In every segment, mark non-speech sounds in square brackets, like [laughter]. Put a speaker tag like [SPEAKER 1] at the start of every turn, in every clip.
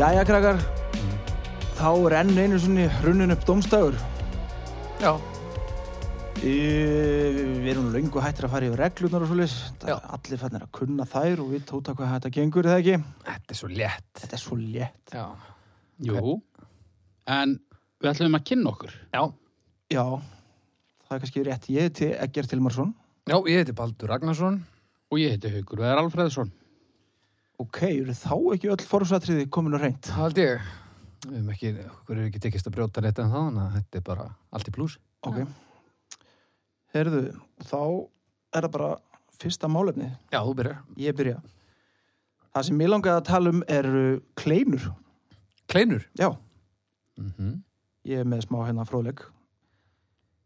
[SPEAKER 1] Jæja, krakkar, þá er enn einu sinni runnin upp domstafur.
[SPEAKER 2] Já,
[SPEAKER 1] Við erum löngu hættir að fara yfir reglurnar og svoleiðis. Það
[SPEAKER 2] Já.
[SPEAKER 1] er allir fannir að kunna þær og við tóta hvað þetta gengur, eða ekki?
[SPEAKER 2] þetta er svo létt.
[SPEAKER 1] Þetta er svo létt.
[SPEAKER 2] Já.
[SPEAKER 3] Jú, en við ætlum að kynna okkur.
[SPEAKER 2] Já,
[SPEAKER 1] Já, það er kannski rétt. Ég heiti Egger Tilmarsson.
[SPEAKER 2] já, ég heiti Baldur Ragnarsson.
[SPEAKER 3] Og ég heiti Haugur Veðar Alfreðsson.
[SPEAKER 1] Ok, eru þá ekki öll fórhúsatriði komin og reynd?
[SPEAKER 2] Það held ég, við hefum ekki, okkur er ekki tekist að brjóta neitt en það, þannig að þetta er bara allt í pluss.
[SPEAKER 1] Ok. Herðu, þá er það bara fyrsta málefnið.
[SPEAKER 2] Já, þú byrjar.
[SPEAKER 1] Ég byrja. Það sem ég langaði að tala um eru kleinur.
[SPEAKER 2] Kleinur.
[SPEAKER 1] Já,
[SPEAKER 2] Mm
[SPEAKER 1] ég er með smá hérna fróðleg.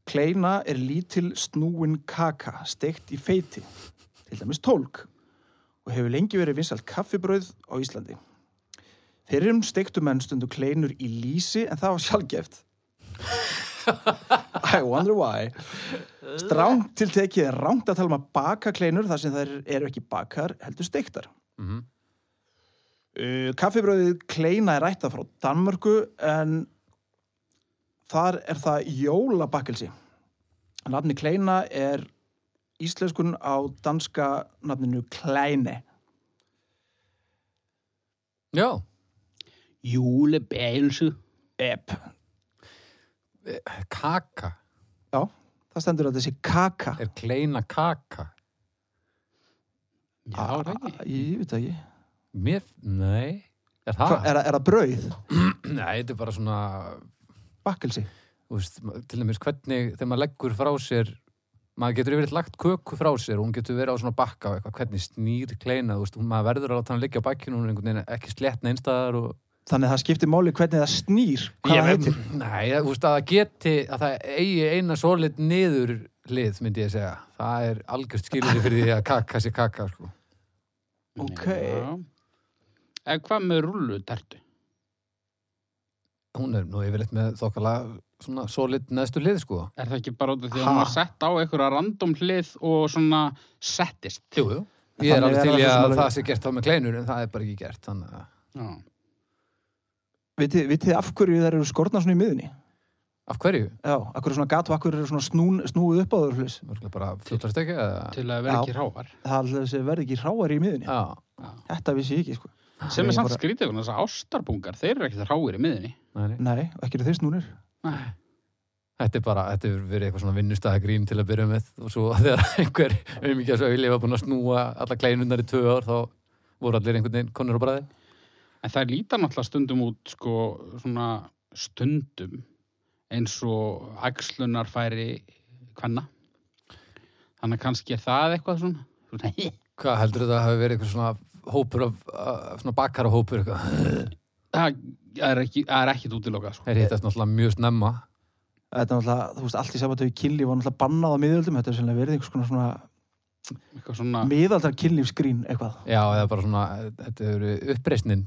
[SPEAKER 1] Kleina er lítil snúin kaka steikt í feiti, til dæmis tólk, og hefur lengi verið vinsalt kaffibröð á Íslandi. Fyrrum steiktu menn stundu kleinur í lísi en það var sjálfgeft. I wonder why. Stránt til tekið er rangt að tala um að baka kleinur þar sem þær eru ekki bakar heldur steiktar. Uh, kaffibröðið Kleina er ættað frá Danmörku en þar er það jólabakkelsi. Nafni Kleina er íslenskun á danska nafninu Kleine.
[SPEAKER 2] Já,
[SPEAKER 3] Júle Bælsu.
[SPEAKER 1] Epp.
[SPEAKER 2] kaka.
[SPEAKER 1] Já, það stendur að þessi kaka.
[SPEAKER 2] Er kleina kaka?
[SPEAKER 3] Já, það ekki. Ah.
[SPEAKER 1] Ég, ég veit það ekki.
[SPEAKER 2] Mér, nei. Er
[SPEAKER 1] Hva,
[SPEAKER 2] það?
[SPEAKER 1] er, það- er það brauð?
[SPEAKER 2] [clears throat] Nei, þetta er bara svona,
[SPEAKER 1] Bakkelsi?
[SPEAKER 2] þú veist, til dæmis hvernig, þegar maður leggur frá sér, maður getur yfirleitt lagt köku frá sér og hún getur verið á svona bakka og eitthvað, hvernig snýr kleina, þú veist, hún- maður verður að láta hann liggja á bakkinu, hún er einhvern veginn ekki slett neinstæðar og...
[SPEAKER 1] Þannig að það skiptir máli hvernig það snýr, hvað það heitir.
[SPEAKER 2] Nei, þú veist, að það geti, að það eigi eina solid niður lið, myndi ég segja. Það er algjörst skilur fyrir því að [laughs] kaka sé kaka, sko.
[SPEAKER 1] Ok.
[SPEAKER 3] Já. En hvað með rullutertu?
[SPEAKER 2] Hún er nú yfirleitt með þokkalega svona solid neðstu lið, sko.
[SPEAKER 3] Er það ekki bara út af því að
[SPEAKER 1] Ha?
[SPEAKER 3] hún var sett á einhverja random hlið og svona settist?
[SPEAKER 2] Jú, jú. Ég er
[SPEAKER 1] Þannig
[SPEAKER 2] alveg
[SPEAKER 1] er
[SPEAKER 2] til
[SPEAKER 1] það
[SPEAKER 2] í
[SPEAKER 1] svo sem
[SPEAKER 2] að
[SPEAKER 1] alveg-
[SPEAKER 2] það sé gert þá með kleinur, en það er bara ekki gert, þannig að...
[SPEAKER 3] Já.
[SPEAKER 1] Vitið vitið þið af hverju þær eru skortnar svona í miðunni?
[SPEAKER 2] Af hverju?
[SPEAKER 1] Já, af hverju er svona gat og af hverju eru svona snún, snúið upp á þau og svoleiðis?
[SPEAKER 2] Mörgulega bara fljóttast ekki, eða...
[SPEAKER 3] Til að vera
[SPEAKER 1] Já.
[SPEAKER 3] ekki rávar.
[SPEAKER 1] Það er alltaf þessi verði ekki hráar í miðunni.
[SPEAKER 2] Já.
[SPEAKER 1] Þetta vissi ég ekki, sko.
[SPEAKER 3] Sem
[SPEAKER 1] Ég
[SPEAKER 3] er samt
[SPEAKER 1] bara-
[SPEAKER 3] skrítið vegna þess að ástarbungar, þeir eru ekkert ráir í miðinni.
[SPEAKER 2] Nei, nei.
[SPEAKER 1] Nei, og ekki eru þeir snúnir.
[SPEAKER 3] Nei.
[SPEAKER 2] Þetta er bara, þetta hefur verið eitthvað svona vinnustæðagrín til að byrja með og svo [laughs] þegar einhver auðmikið svo auðlið var búin að snúa alla kleinundar í tvö ár þá voru allir einhvern veginn konur á bræði.
[SPEAKER 3] En það lítar náttúrulega stundum út sko svona stundum eins og ægslunar færi hvenna. Þannig að kannski er það eitthvað svona. Nei,
[SPEAKER 2] Hvað heldur þetta hafi verið eitthvað svona hópur af, af svona bakkara hópur eitthvað?
[SPEAKER 3] það er ekki, það er ekkit útilokað
[SPEAKER 2] [laughs]
[SPEAKER 3] sko.
[SPEAKER 2] Þeir hittast náttúrulega mjög snemma.
[SPEAKER 1] Þetta er náttúrulega, þú veist, allt í samantöku kynlíf var náttúrulega bannað á miðöldum. Þetta er sérlega verið einhvers konar svona
[SPEAKER 3] Eitthvað svona,
[SPEAKER 1] miðaldar kynlífsgrín eitthvað.
[SPEAKER 2] Já, eða bara svona, þetta hefur verið uppreisnin,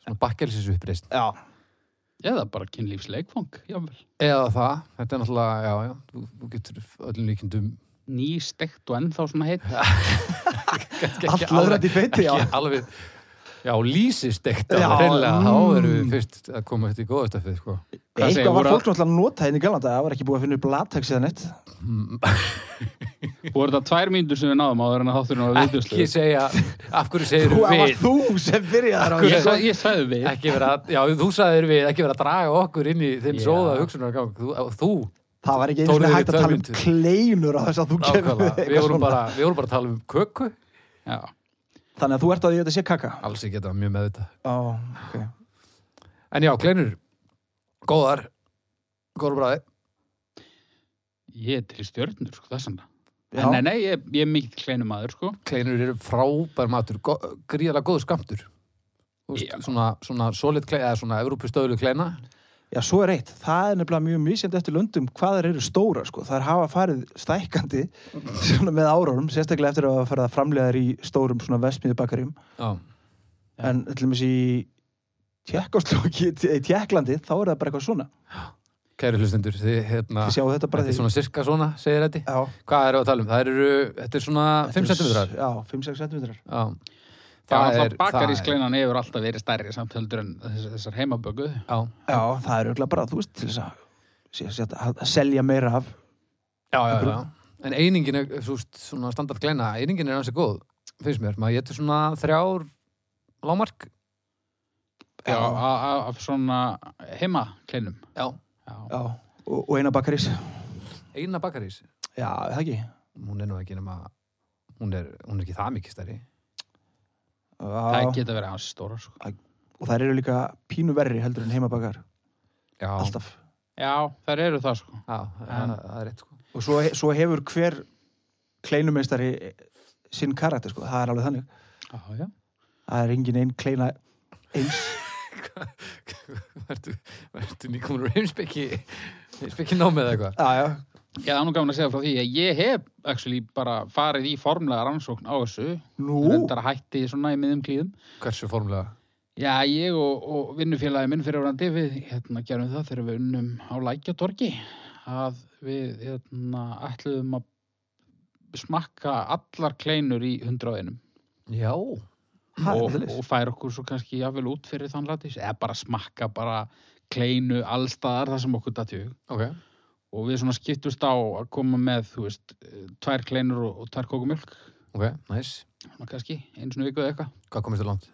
[SPEAKER 2] svona bakkelsis uppreisn.
[SPEAKER 1] Já.
[SPEAKER 3] eða bara kynlífsleikfang, jável.
[SPEAKER 2] Eða það, þetta er náttúrulega, já, já, þú, þú getur öllum líkindum
[SPEAKER 3] Ný stekt og ennþá svona heitt.
[SPEAKER 2] kannski
[SPEAKER 1] Allt
[SPEAKER 2] alveg-
[SPEAKER 1] löðrætt í feiti, já.
[SPEAKER 2] Ekki alveg, já, lýsistekt,
[SPEAKER 1] Já,
[SPEAKER 2] alveg hreinlega, þá erum
[SPEAKER 1] mm.
[SPEAKER 2] við fyrst að koma eftir góðastafið, sko.
[SPEAKER 3] Hvað segir,
[SPEAKER 1] Eitthvað var
[SPEAKER 3] voru-
[SPEAKER 1] fólk náttúrulega að nota henni í galanda. Það var ekki búið að finna upp latex eða neitt.
[SPEAKER 3] Mm. Voru þetta tvær mínútur sem við náðum áður en að þátturinn var
[SPEAKER 2] Ekki
[SPEAKER 3] viðbjörslu?
[SPEAKER 2] segja, af hverju segir
[SPEAKER 1] Þú, það var
[SPEAKER 2] við?
[SPEAKER 1] þú sem byrjaði
[SPEAKER 3] Ég,
[SPEAKER 1] þar á
[SPEAKER 3] sa- ég sagði við.
[SPEAKER 2] Ekki vera að, já, þú sagðir við, ekki vera að draga okkur inn í þinn
[SPEAKER 3] Já.
[SPEAKER 2] sóða hugsunargang, þú, á- þú
[SPEAKER 1] Það var ekki einu
[SPEAKER 2] Tónið
[SPEAKER 1] svona
[SPEAKER 2] við
[SPEAKER 1] hægt að
[SPEAKER 2] tvær
[SPEAKER 1] tala um
[SPEAKER 2] mínútur.
[SPEAKER 1] kleinur á þess að þú gefur
[SPEAKER 2] ákvæmlega, við
[SPEAKER 1] eitthvað
[SPEAKER 2] vorum
[SPEAKER 1] svona.
[SPEAKER 2] bara, við vorum bara að tala um köku,
[SPEAKER 3] Já.
[SPEAKER 1] Þannig að þú ert á því að þetta sé kaka.
[SPEAKER 2] alls ekki þetta var mjög með þetta.
[SPEAKER 1] Ó, ok.
[SPEAKER 2] En já, kleinur, góðar, góður bræði,
[SPEAKER 3] Ég er til í stjörnur, sko, þess vegna.
[SPEAKER 1] Já.
[SPEAKER 3] En Nei, nei, ég, ég er mikill kleinum aður, sko.
[SPEAKER 2] kleinur eru frábær matur, go, gríðalega góð skamtur. Þú
[SPEAKER 3] Já.
[SPEAKER 2] veist, svona, svona solid kleina, eða svona evrópustöðlu kleina.
[SPEAKER 1] Já, svo er eitt. Það er nefnilega mjög misjönd eftir löndum hvað þær eru stóra, sko. Þær hafa farið stækandi
[SPEAKER 3] Mhm.
[SPEAKER 1] svona með árarum, sérstaklega eftir að hafa farið að framlega þær í stórum svona vestmiðbakarum.
[SPEAKER 2] Já.
[SPEAKER 3] Já.
[SPEAKER 1] En til dæmis í Tjekkoslóki, í Tjekklandi, þá er það bara eitthvað svona.
[SPEAKER 2] Kæri hlustendur, þið hérna,
[SPEAKER 1] Þið sjáu þetta bara
[SPEAKER 2] þetta er
[SPEAKER 1] því.
[SPEAKER 2] svona sirka svona, segir þetta.
[SPEAKER 1] Já.
[SPEAKER 2] Hvað eru að tala um? Það eru, þetta er svona 5
[SPEAKER 1] Þetta
[SPEAKER 2] cm.
[SPEAKER 1] er- Já, 5-6 centimetrar.
[SPEAKER 2] Já.
[SPEAKER 3] Það, það
[SPEAKER 2] er-
[SPEAKER 3] bakarískleinan hefur alltaf verið stærri samt heldur en þess- þessar heimabökuð.
[SPEAKER 2] Já,
[SPEAKER 1] Já, það er auðvitað bara, þú veist, til þess að, sé- sé- að, að selja meira af
[SPEAKER 2] já, já, já. En einingin er, þú veist, svona standard glæna, einingin er hansi góð, finnst mér. Maður getur svona þrjár lámark.
[SPEAKER 1] Já.
[SPEAKER 3] Já, a- a- af svona heimakleinum.
[SPEAKER 2] Já.
[SPEAKER 3] Já.
[SPEAKER 1] já, og, og eina bakarís.
[SPEAKER 2] Eina bakarís.
[SPEAKER 1] Já, er það ekki.
[SPEAKER 2] Hún er nú ekki nema, hún er, hún er ekki það mikið stærri.
[SPEAKER 1] Já,
[SPEAKER 3] Það geta verið hans stóra, sko.
[SPEAKER 1] og þær eru líka pínu verri heldur en heimabakar,
[SPEAKER 2] Já.
[SPEAKER 1] alltaf.
[SPEAKER 3] Já, þær eru það, sko.
[SPEAKER 2] Já, það það er rétt sko. [laughs]
[SPEAKER 1] Og svo, svo hefur hver kleinumeistari sinn karakter, sko, það er alveg þannig.
[SPEAKER 3] Já, já.
[SPEAKER 1] Það er engin einn kleina eins.
[SPEAKER 2] Vertu, vertu nýkomur heimsbyggi, heimsbyggi námið eða eitthvað.
[SPEAKER 1] Já, já,
[SPEAKER 3] Ég það er nú gaman að segja frá því að ég hef actually bara farið í formlega rannsókn á þessu.
[SPEAKER 1] nú,
[SPEAKER 3] Röndar hætti svona í miðum klíðum.
[SPEAKER 2] Hversu formulega?
[SPEAKER 3] Já, ég og, og vinnufélagi minn fyrirvörandi við hérna gerum það þegar við unnum á Lækjatorgi að við hérna ætluðum að smakka allar kleinur í hundraðinum
[SPEAKER 2] Já.
[SPEAKER 1] það er
[SPEAKER 3] og,
[SPEAKER 1] alltaf
[SPEAKER 3] og færa okkur svo kannski jafnvel út fyrir þann latís eða bara smakka bara kleinu allstaðar þar sem okkur datjúg
[SPEAKER 2] Ok.
[SPEAKER 3] og við svona skiptust á að koma með, þú veist, eh, tvær kleinur og, og tvær kókumjölk,
[SPEAKER 2] Ok, næs.
[SPEAKER 3] svona kannski, eins og vikuð eitthvað
[SPEAKER 2] Hvað komist þér langt?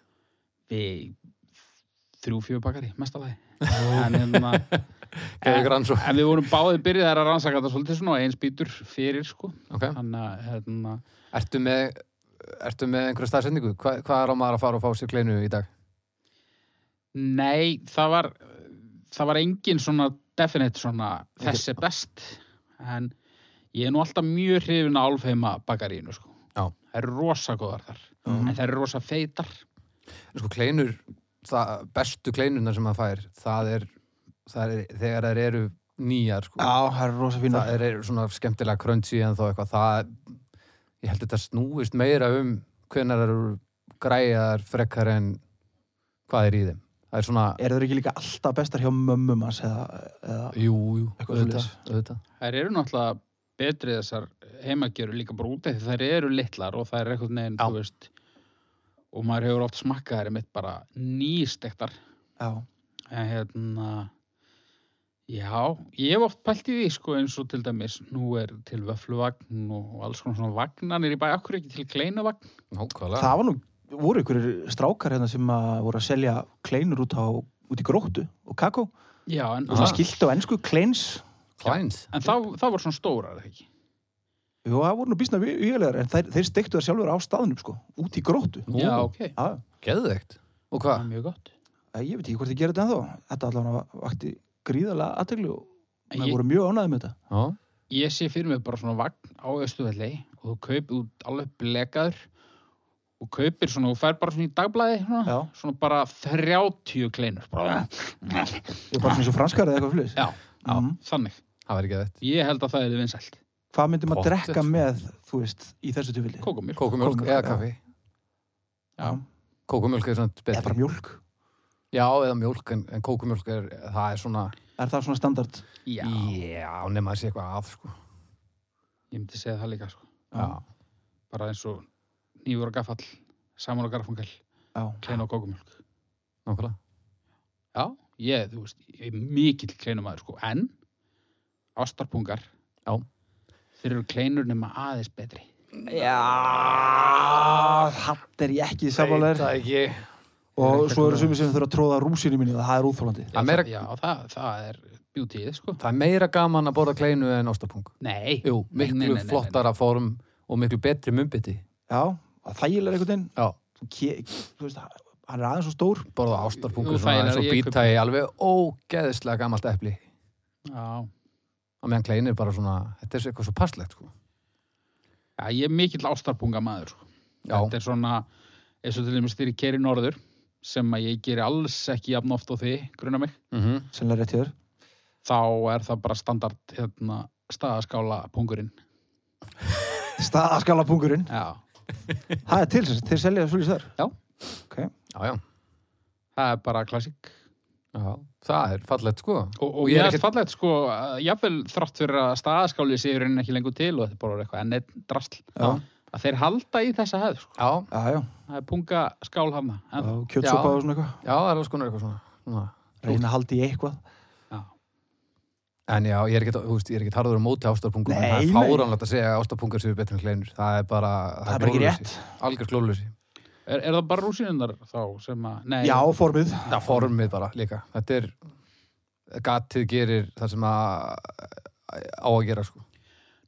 [SPEAKER 3] við þrjú, fjögur bakari, mestalagi en, hérna,
[SPEAKER 2] Gerðu
[SPEAKER 3] en,
[SPEAKER 2] ykkur ansó.
[SPEAKER 3] en við vorum báðið byrjaðar að rannsaka þetta svolítið svona og eins býtur fyrir sko
[SPEAKER 2] Ok.
[SPEAKER 3] þannig að hérna,
[SPEAKER 2] Ertu með, ertu með einhverja staðsendingu? Hva, hvað er á maður að fara og fá sér kleinu í dag?
[SPEAKER 3] nei, það var það var engin svona definite svona, þess er best en ég er nú alltaf mjög hrifin að álfheima bakarínu sko
[SPEAKER 2] Já.
[SPEAKER 3] það eru rosa góðar þar en það eru rosa feitar
[SPEAKER 2] En sko kleinur, það, bestu kleinunar sem maður fær, það er, það er þegar þær eru nýjar, sko.
[SPEAKER 1] Já, það er rosa fína.
[SPEAKER 2] það er, er svona skemmtilega crunchy en þá eitthvað það, ég held þetta snúist meira um hvenar það eru græjar frekar en hvað er í þeim það er svona,
[SPEAKER 1] Er það ekki líka alltaf bestar hjá mömmum hans eða, eða
[SPEAKER 2] jú, jú,
[SPEAKER 1] Eitthvað
[SPEAKER 2] auðvitað,
[SPEAKER 1] svoleiðis.
[SPEAKER 2] auðvitað
[SPEAKER 3] Þær eru náttúrulega betri þessar heimagjörur líka bara út af því þær eru litlar og þær eru eitthvað neginn,
[SPEAKER 2] Já.
[SPEAKER 3] þú veist og maður hefur oft smakkað þær mitt bara nýstektar
[SPEAKER 1] já,
[SPEAKER 3] en hérna já, ég hef oft pælt í því sko eins og til dæmis, nú er til vöfluvagn og alls konar svona vagnanir í bæ okkur ekki til kleinuvagn
[SPEAKER 2] Nákvæmlega.
[SPEAKER 1] það var nú, voru ykkur strákar hérna sem að voru að selja kleinur út á, út í gróttu og kakó
[SPEAKER 3] já, en,
[SPEAKER 1] og það skilti á ensku kleins
[SPEAKER 2] Kleins
[SPEAKER 3] en þá, þá voru svona stórar eða ekki
[SPEAKER 1] Jú, það voru nú býsna výlegar en þeir, þeir stektu það sjálfur á staðnum sko, út í gróttu
[SPEAKER 2] Nú,
[SPEAKER 3] já, ok,
[SPEAKER 1] Já,
[SPEAKER 2] geðveikt og
[SPEAKER 3] það
[SPEAKER 2] hvað,
[SPEAKER 3] er mjög gott
[SPEAKER 1] eh, ég veit ekki hvort þið gerir þetta ennþá Þetta allavega vakti gríðarlega aðteglu og
[SPEAKER 3] En
[SPEAKER 1] það
[SPEAKER 3] ég-
[SPEAKER 1] voru mjög ánæði með þetta
[SPEAKER 2] já,
[SPEAKER 3] ég sé fyrir mig bara svona vagn á östuvelli og þú kaupir út alveg blekaður og kaupir svona, þú fær bara svona í dagblæði
[SPEAKER 2] Ah.
[SPEAKER 3] svona,
[SPEAKER 1] Já,
[SPEAKER 3] svona bara 30 kleinur bara,
[SPEAKER 1] ég er bara svona svo franskar eða eitthvað fyrir
[SPEAKER 3] Já, já.
[SPEAKER 1] mm.
[SPEAKER 3] þannig,
[SPEAKER 2] það væri geðveikt
[SPEAKER 3] ég held að það er vinsælt
[SPEAKER 1] Hvað myndi maður
[SPEAKER 2] Pottþétt,
[SPEAKER 1] drekka
[SPEAKER 2] sko.
[SPEAKER 1] með, þú veist, í þessu tufili?
[SPEAKER 3] kókumjölk
[SPEAKER 2] kókumjólk
[SPEAKER 1] Kókumjólk,
[SPEAKER 2] eða
[SPEAKER 1] já.
[SPEAKER 2] kaffi
[SPEAKER 1] Já,
[SPEAKER 2] kókumjólk er svona
[SPEAKER 1] eða
[SPEAKER 2] betri
[SPEAKER 1] bara mjólk
[SPEAKER 2] já, eða mjólk, en, en kókumjólk er það er svona,
[SPEAKER 1] Er það svona standard?
[SPEAKER 3] já,
[SPEAKER 2] já, nema að sé eitthvað að sko.
[SPEAKER 3] ég myndi segja það líka sko.
[SPEAKER 2] já,
[SPEAKER 3] bara eins og nýfur og gafall saman og garfangal,
[SPEAKER 1] Já.
[SPEAKER 3] klein og kókumjölk
[SPEAKER 2] nákvæmlega
[SPEAKER 3] já, ég, þú veist ég er mikill kleinumæður sko, en ástarpungar
[SPEAKER 2] Já.
[SPEAKER 3] þeir eru kleinur nema aðeins betri
[SPEAKER 1] Já, hatt er ég ekki
[SPEAKER 2] Veit
[SPEAKER 1] samanlegar
[SPEAKER 2] það ekki
[SPEAKER 1] og svo eru sumir sem þurfa að tróða rúsinu minni og það er úþólandi
[SPEAKER 2] Það er meira-
[SPEAKER 3] já, það, það er bjútið, sko.
[SPEAKER 2] Það er meira gaman að borða kleinu en ástapung.
[SPEAKER 3] Nei.
[SPEAKER 2] Jú,
[SPEAKER 3] Nei,
[SPEAKER 2] miklu
[SPEAKER 3] nei, nei, nei, nei.
[SPEAKER 2] flottara form og miklu betri mumbiti.
[SPEAKER 1] Já, að þægilega einhvern veginn
[SPEAKER 2] Já,
[SPEAKER 1] Þú ke- þú veist, hann er aðeins svo stór
[SPEAKER 2] borða ástapungu svona
[SPEAKER 3] Jú, þægilega,
[SPEAKER 2] eins og
[SPEAKER 3] ég
[SPEAKER 2] býta í alveg ógeðislega gamalt epli.
[SPEAKER 3] Já.
[SPEAKER 2] Og meðan kleinu er bara svona, þetta er svo eitthvað svo passlegt, sko.
[SPEAKER 3] Já, ég er mikill ástarpunga maður, sko.
[SPEAKER 2] Já.
[SPEAKER 3] Þetta er svona, eins og til dæmis þegar ég keri norður, sem að ég geri alls ekki jafn oft á því, gruna mig,
[SPEAKER 2] Mm
[SPEAKER 1] sennilega rétt hér
[SPEAKER 3] þá er það bara standard, hérna, staðaskála pungurinn.
[SPEAKER 1] staðaskala pungurinn,
[SPEAKER 3] Já.
[SPEAKER 1] það er til þess þeir selja svolítið þar
[SPEAKER 2] Já, já.
[SPEAKER 3] Það er bara klassik.
[SPEAKER 2] Já, það er fallegt, sko.
[SPEAKER 3] Og, og
[SPEAKER 2] ég
[SPEAKER 3] ég
[SPEAKER 2] er
[SPEAKER 3] er ekkert fallegt, sko, að jafnvel þrátt fyrir að staðaskáli séu raunin ekki lengur til og þetta er bara eitthvað enn einn drasl.
[SPEAKER 1] Já.
[SPEAKER 3] að þeir halda í þessa hefð sko.
[SPEAKER 2] Já,
[SPEAKER 1] Já, já,
[SPEAKER 3] það er punga skál hafna en,
[SPEAKER 1] og kjötsopa
[SPEAKER 2] Já.
[SPEAKER 1] og svona eitthvað.
[SPEAKER 2] já, það er alls konar eitthvað svona. svona.
[SPEAKER 1] Reyna að haldi í eitthvað.
[SPEAKER 3] já.
[SPEAKER 2] En já, ég er ekkert, þú veist, ég er ekkert harður á móti ástarpungur, en
[SPEAKER 1] Nei,
[SPEAKER 2] það er
[SPEAKER 1] nei.
[SPEAKER 2] fáránlegt að segja að ástarpungur séu betri en kleinur. Það er bara...
[SPEAKER 1] Það er bara ekki
[SPEAKER 2] glóruleysi.
[SPEAKER 1] rétt.
[SPEAKER 2] Algjör glóðlösi.
[SPEAKER 3] Er, er það bara rúsinundar þá sem að nei,
[SPEAKER 1] Já, formið.
[SPEAKER 2] Það formið bara líka. Þetta er... Gatið gerir það sem að á að gera, sko.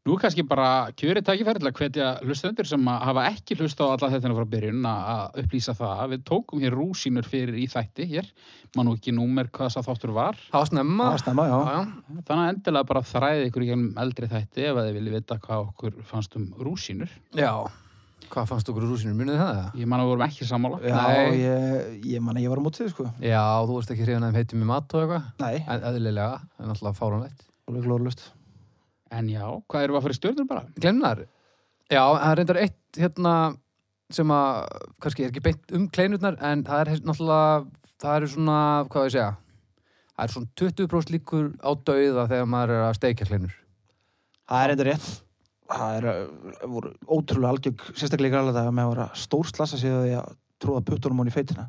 [SPEAKER 3] Nú er kannski bara kjöri tækifæri til að hvetja hlustendur sem að hafa ekki hlusta á alla þetta frá byrjun að- að upplýsa það. Við tókum hér rúsínur fyrir í þætti hér, mann og ekki númer hvað þess þáttur var.
[SPEAKER 2] Það var snemma.
[SPEAKER 1] Það stemma, já.
[SPEAKER 2] Já, já.
[SPEAKER 3] Þannig að endilega bara þræði ykkur í gegnum eldri þætti ef að þið viljið vita hvað okkur fannst um rúsínur.
[SPEAKER 2] Já. Hvað fannst okkur úr rúsinu? Munið þið það? eða?
[SPEAKER 3] Ég man að við vorum ekki sammála.
[SPEAKER 1] Já,
[SPEAKER 2] Nei.
[SPEAKER 1] ég, ég manna, ég var á mótið, sko.
[SPEAKER 2] Já, þú veist ekki hrifin að þeim heitum í mat og eitthvað.
[SPEAKER 1] Nei,
[SPEAKER 2] En eðlilega, en alltaf fáránlegt.
[SPEAKER 1] alveg glórlust.
[SPEAKER 3] En já, hvað erum við að fyrir stjórnur bara?
[SPEAKER 2] Glennar? Já, það er reyndar eitt hérna sem að, kannski er ekki beint um kleinurnar en það er hér- náttúrulega, það eru svona, hvað á ég að segja, það eru svona 20% líkur á dauða þegar maður er að steikja kleinur.
[SPEAKER 1] Það er enda rétt. Það er, uh, voru ótrúlega algjörg, sérstaklega í græla þegar maður var að stórslasa sig að því að tróða puttunum hún í feitina.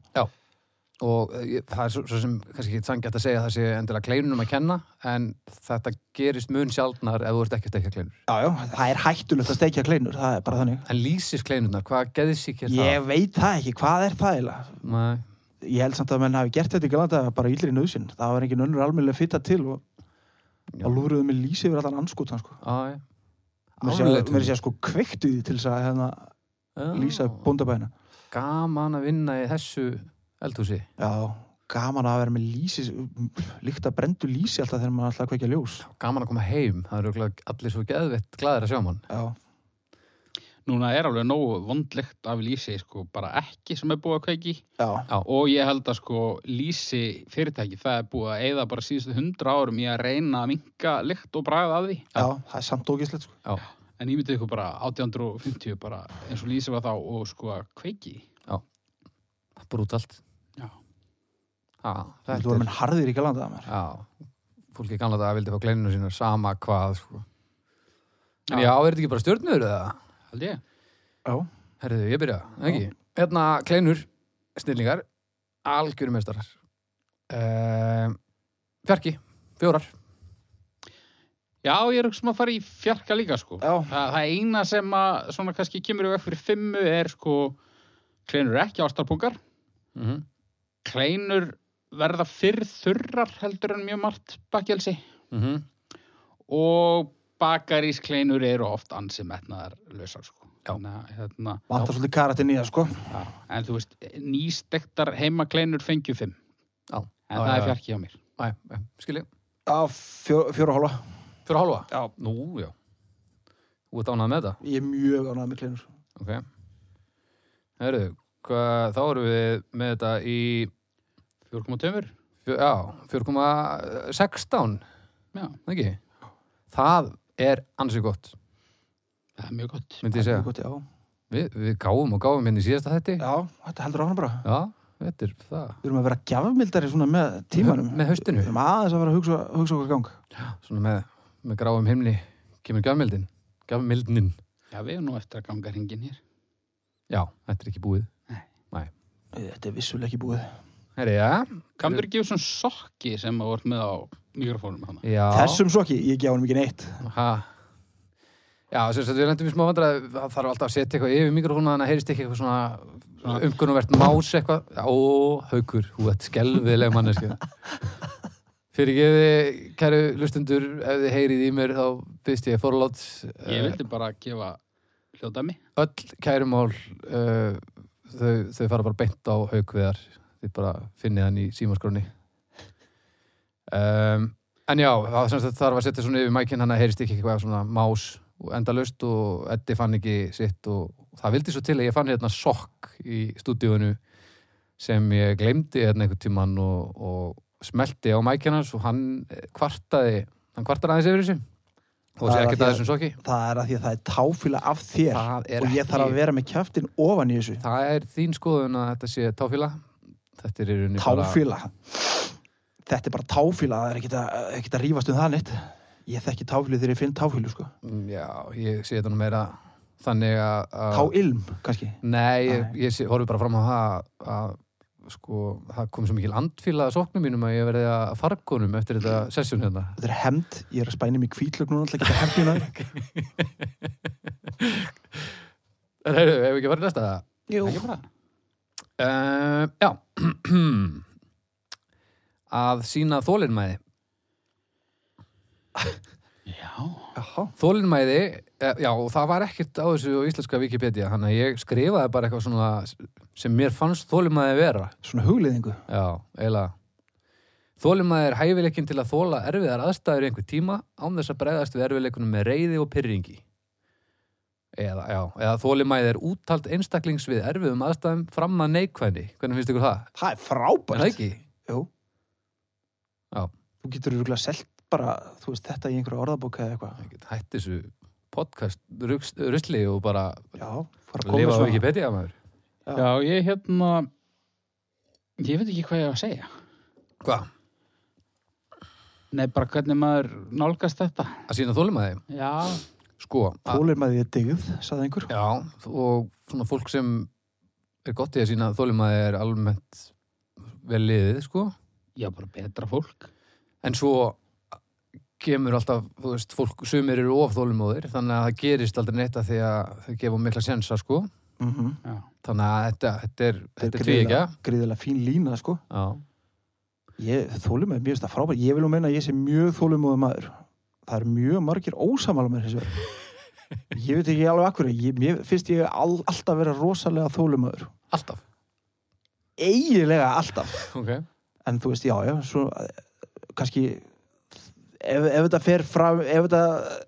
[SPEAKER 2] Og eh, ég- það er svo, svo sem kannski ekki sangjætt að segja að það sé endilega kleinunum að kenna en þetta gerist mun sjaldnar ef þú ert ekki að steikja kleinur.
[SPEAKER 1] Já, já, það er hættulegt að steikja kleinur, það er bara þannig.
[SPEAKER 2] En lýsist kleinurnar, hvað geðið sík er
[SPEAKER 1] Ég
[SPEAKER 2] það?
[SPEAKER 1] veit það ekki, hvað er það eiginlega?
[SPEAKER 2] Nei.
[SPEAKER 1] Ég held samt að menn hafi gert þetta í galanda bara ílir í nöðsinn. Það var engin önnur almennlega fitta til og
[SPEAKER 2] Já.
[SPEAKER 1] að lúruðu með lýsi yfir allan anskotan, sko.
[SPEAKER 2] Á, já.
[SPEAKER 1] Mér
[SPEAKER 2] Ánægjulegt.
[SPEAKER 1] sé að segja, sko kveiktu í því til þess að hérna,
[SPEAKER 2] Já.
[SPEAKER 1] lýsa bóndabæna.
[SPEAKER 2] Gaman að vinna í þessu eldhúsi.
[SPEAKER 1] Já, gaman að vera með lýsi, líkt að brendu lýsi alltaf þegar maður alltaf að kveikja ljós.
[SPEAKER 2] gaman að koma heim það eru örugglega allir svo geðvett glæðir að sjá um mann
[SPEAKER 1] Já,
[SPEAKER 3] Núna er alveg nógu vondlegt af lýsi, sko, bara ekki sem er búið að kveiki.
[SPEAKER 1] já,
[SPEAKER 3] Og ég held að sko lýsi fyrirtæki, það er búið að eigða bara síðustu hundra árum í að reyna að minka lykt og bragð að því.
[SPEAKER 1] já, það er samt ógislegt, sko.
[SPEAKER 2] já,
[SPEAKER 3] En ég myndi ykkur bara 1850 bara eins og lýsi var þá og sko að kveiki.
[SPEAKER 2] brútalt
[SPEAKER 3] Já.
[SPEAKER 2] já,
[SPEAKER 1] Þetta
[SPEAKER 2] þetta
[SPEAKER 1] voru
[SPEAKER 2] er
[SPEAKER 1] menn harðir í galanda að maður.
[SPEAKER 2] já, fólki í gamla dag vildi fá glenninu sínar sama hvað sko. en
[SPEAKER 3] Já.
[SPEAKER 2] já, er þetta ekki bara stjörnur eða?
[SPEAKER 3] Held ég?
[SPEAKER 1] Já,
[SPEAKER 2] herðu, ég byrja, ekki hérna, kleinur, snillingar algjörum mestarar ehm, fjarki, fjórar
[SPEAKER 3] Já, ég er sem að fara í fjarka líka sko.
[SPEAKER 1] já,
[SPEAKER 3] Það, það eina sem að svona kannski kemur í veg fyrir fimmu er sko kleinur eru ekki ástarpungar.
[SPEAKER 2] mm -hmm.
[SPEAKER 3] Kleinur verða fyrr þurrar heldur en mjög margt bakkelsi
[SPEAKER 2] Mm -hmm.
[SPEAKER 3] og bakarískleinur eru oft ansi metnaðar lausar sko.
[SPEAKER 2] Já.
[SPEAKER 3] Þannig að, hérna,
[SPEAKER 1] vantar svolítið karatinn í það, sko.
[SPEAKER 3] já. En þú veist, nýstektar heimakleinur fengju fimm.
[SPEAKER 2] Já.
[SPEAKER 3] En
[SPEAKER 2] Já,
[SPEAKER 3] það
[SPEAKER 2] já,
[SPEAKER 3] er
[SPEAKER 2] já.
[SPEAKER 3] fjarki á mér.
[SPEAKER 2] Æ, æ, skilji,
[SPEAKER 1] Já, fjó- fjóra og hálfa.
[SPEAKER 2] fjóra og hálfa
[SPEAKER 1] Já.
[SPEAKER 2] nú, já út ánað með það
[SPEAKER 1] Ég er mjög ánægð með kleinur.
[SPEAKER 2] Ok. Herru, hvað, þá erum við með þetta í,
[SPEAKER 3] 4,2
[SPEAKER 2] fjö- já, 4,16,
[SPEAKER 3] Já,
[SPEAKER 2] ekki? Það er ansið gott,
[SPEAKER 3] það er mjög gott.
[SPEAKER 2] myndi ég
[SPEAKER 1] Mjög
[SPEAKER 2] segja.
[SPEAKER 1] Gott, já.
[SPEAKER 2] Við, við gáum og gáum hérna í síðasta þetti.
[SPEAKER 1] já, þetta heldur áfram bara.
[SPEAKER 2] Já, þetta er það.
[SPEAKER 1] Við erum að vera gjafmildari svona með tímanum.
[SPEAKER 2] Með haustinu,
[SPEAKER 1] Við erum aðeins að vera að hugsa, hugsa okkur í gang.
[SPEAKER 2] svona með, með gráum himni, kemur gjafmildin, gjafmildnin.
[SPEAKER 3] Já, við erum nú eftir að ganga hringin hér.
[SPEAKER 2] Já, þetta er ekki búið.
[SPEAKER 1] Þetta er vissulega ekki búið.
[SPEAKER 2] Herri, já.
[SPEAKER 3] Kamdur gefa svona sokki sem að voru með á mikrofónum hana.
[SPEAKER 2] Já.
[SPEAKER 1] Þessum sokki, ég gef honum ekki neitt.
[SPEAKER 2] Ha. Já, sem sagt, við lendum í smá vandræði, það þarf alltaf að setja eitthvað yfir mikrofónu, þannig að heyrist ekki eitthvað svona
[SPEAKER 3] Svona.
[SPEAKER 2] umkunnuvert más eitthvað. Ó, haukur, hú, þetta skelvileg manneski. Fyrir gefi, kæru lustundur, ef þið heyrið í mér, þá byrst ég forlátt. Eh.
[SPEAKER 3] Ég vildi bara gefa hljóðdæmi.
[SPEAKER 2] Öll kærumál, uh, þau, þau fara bara beint á haukviðar. Þið bara finnið hann í símaskroni. Um, en já, það sem sagt þarf að setja svona yfir mækinn, hann að heyrist ekki eitthvað svona más og endalaust og Eddi fann ekki sitt og það vildi svo til að ég fann hérna sokk í stúdíunu sem ég glemdi hérna einhvern tímann og, og smelti á mækinn hans og hann eh, kvartaði, hann kvartar aðeins yfir þessu og
[SPEAKER 1] Það
[SPEAKER 2] sé
[SPEAKER 1] er af því
[SPEAKER 2] ekkert að
[SPEAKER 1] að-
[SPEAKER 2] þessum sokki.
[SPEAKER 1] Það er að því að það er táfýla af þér
[SPEAKER 2] Það er
[SPEAKER 1] og ég þarf að vera með kjaftin ofan í þessu.
[SPEAKER 2] Það er þín skoðun að þetta sé táfíla Þetta er í rauninni
[SPEAKER 1] Táfýla. Þetta er bara táfýla, það er ekkert að, ekkert að rífast um það neitt. Ég þekki táfýlu þegar ég finn táfýlu, sko.
[SPEAKER 2] bara Já, ég sé þetta nú meira þannig að að-
[SPEAKER 1] Tá ilm, kannski.
[SPEAKER 2] Nei, ég,
[SPEAKER 1] Nei.
[SPEAKER 2] ég sé- horfi bara fram á það að sko, það kom svo mikil andfýla að sóknum mínum að ég verði að fargunum eftir
[SPEAKER 1] Mm.
[SPEAKER 2] þetta sessjón hérna. [laughs]
[SPEAKER 1] Þetta er hemd, ég er að spæna mig kvítlög núna alltaf geta hefnina.
[SPEAKER 2] En hefur hef ekki farið næsta það?
[SPEAKER 1] Jú.
[SPEAKER 3] Ekki bara.
[SPEAKER 2] Uh, já. [clears throat] að sína þólinmæði.
[SPEAKER 3] Já.
[SPEAKER 1] Jaha.
[SPEAKER 2] Þólinmæði, eh, já, og það var ekkert á þessu á íslenska Wikipedia, hann að ég skrifaði bara eitthvað svona sem mér fannst þólinmæði vera.
[SPEAKER 1] Svona hugliðingu.
[SPEAKER 2] Já, eiginlega. Þólinmæði er hæfileikin til að þóla erfiðar aðstæður í einhver tíma án þess að bregðast við erfiðleikunum með reyði og pyrringi. Eða, já, eða þólinmæði er úttalt einstaklings við erfiðum aðstæðum fram að neikvæðni. Hvernig finnst ykkur það?
[SPEAKER 1] Það er
[SPEAKER 2] Er
[SPEAKER 1] frábært.
[SPEAKER 2] það ekki?
[SPEAKER 1] Jú.
[SPEAKER 2] Já.
[SPEAKER 1] Þú getur rúglega selt bara, þú veist, þetta í einhverju orðabóka eða eitthvað.
[SPEAKER 2] Ég get hætt þessu podcast rugs- rusli og bara
[SPEAKER 1] Já, fara að koma
[SPEAKER 2] lifa á Wikipedia maður.
[SPEAKER 3] Já, ég hérna, ég veit ekki hvað ég á að segja.
[SPEAKER 2] Hvað?
[SPEAKER 3] Nei, bara hvernig maður nálgast þetta.
[SPEAKER 2] Að sína þólinmæði?
[SPEAKER 3] Já.
[SPEAKER 2] Sko, að-
[SPEAKER 1] Þólimaðið er digð, sagði einhver.
[SPEAKER 2] Já, og svona fólk sem er gott í að sína þólimaði er almennt vel liðið, sko.
[SPEAKER 3] Já, bara betra fólk.
[SPEAKER 2] En svo kemur alltaf, þú veist, fólk sumir eru of þólimóðir, þannig að það gerist aldrei neitt að því að þau gefum mikla sensa, sko.
[SPEAKER 1] Mm -hmm.
[SPEAKER 3] Já.
[SPEAKER 2] Þannig að þetta, þetta er, þetta er tví ekki,
[SPEAKER 1] Gríðilega fín lína, sko.
[SPEAKER 2] já.
[SPEAKER 1] Ég, þólimaðið, mér finnst það frábært. Ég vil nú meina að ég sé mjög þólimaðið maður. Það er mjög margir ósamála með þessu. verð. Ég veit ekki alveg akkur. Ég, mér finnst ég all, alltaf vera rosalega þólimaður.
[SPEAKER 2] Alltaf.
[SPEAKER 1] Eiginlega alltaf.
[SPEAKER 2] Ok.
[SPEAKER 1] en þú veist, já, já, svo eh, kannski ef, ef þetta fer fram, ef þetta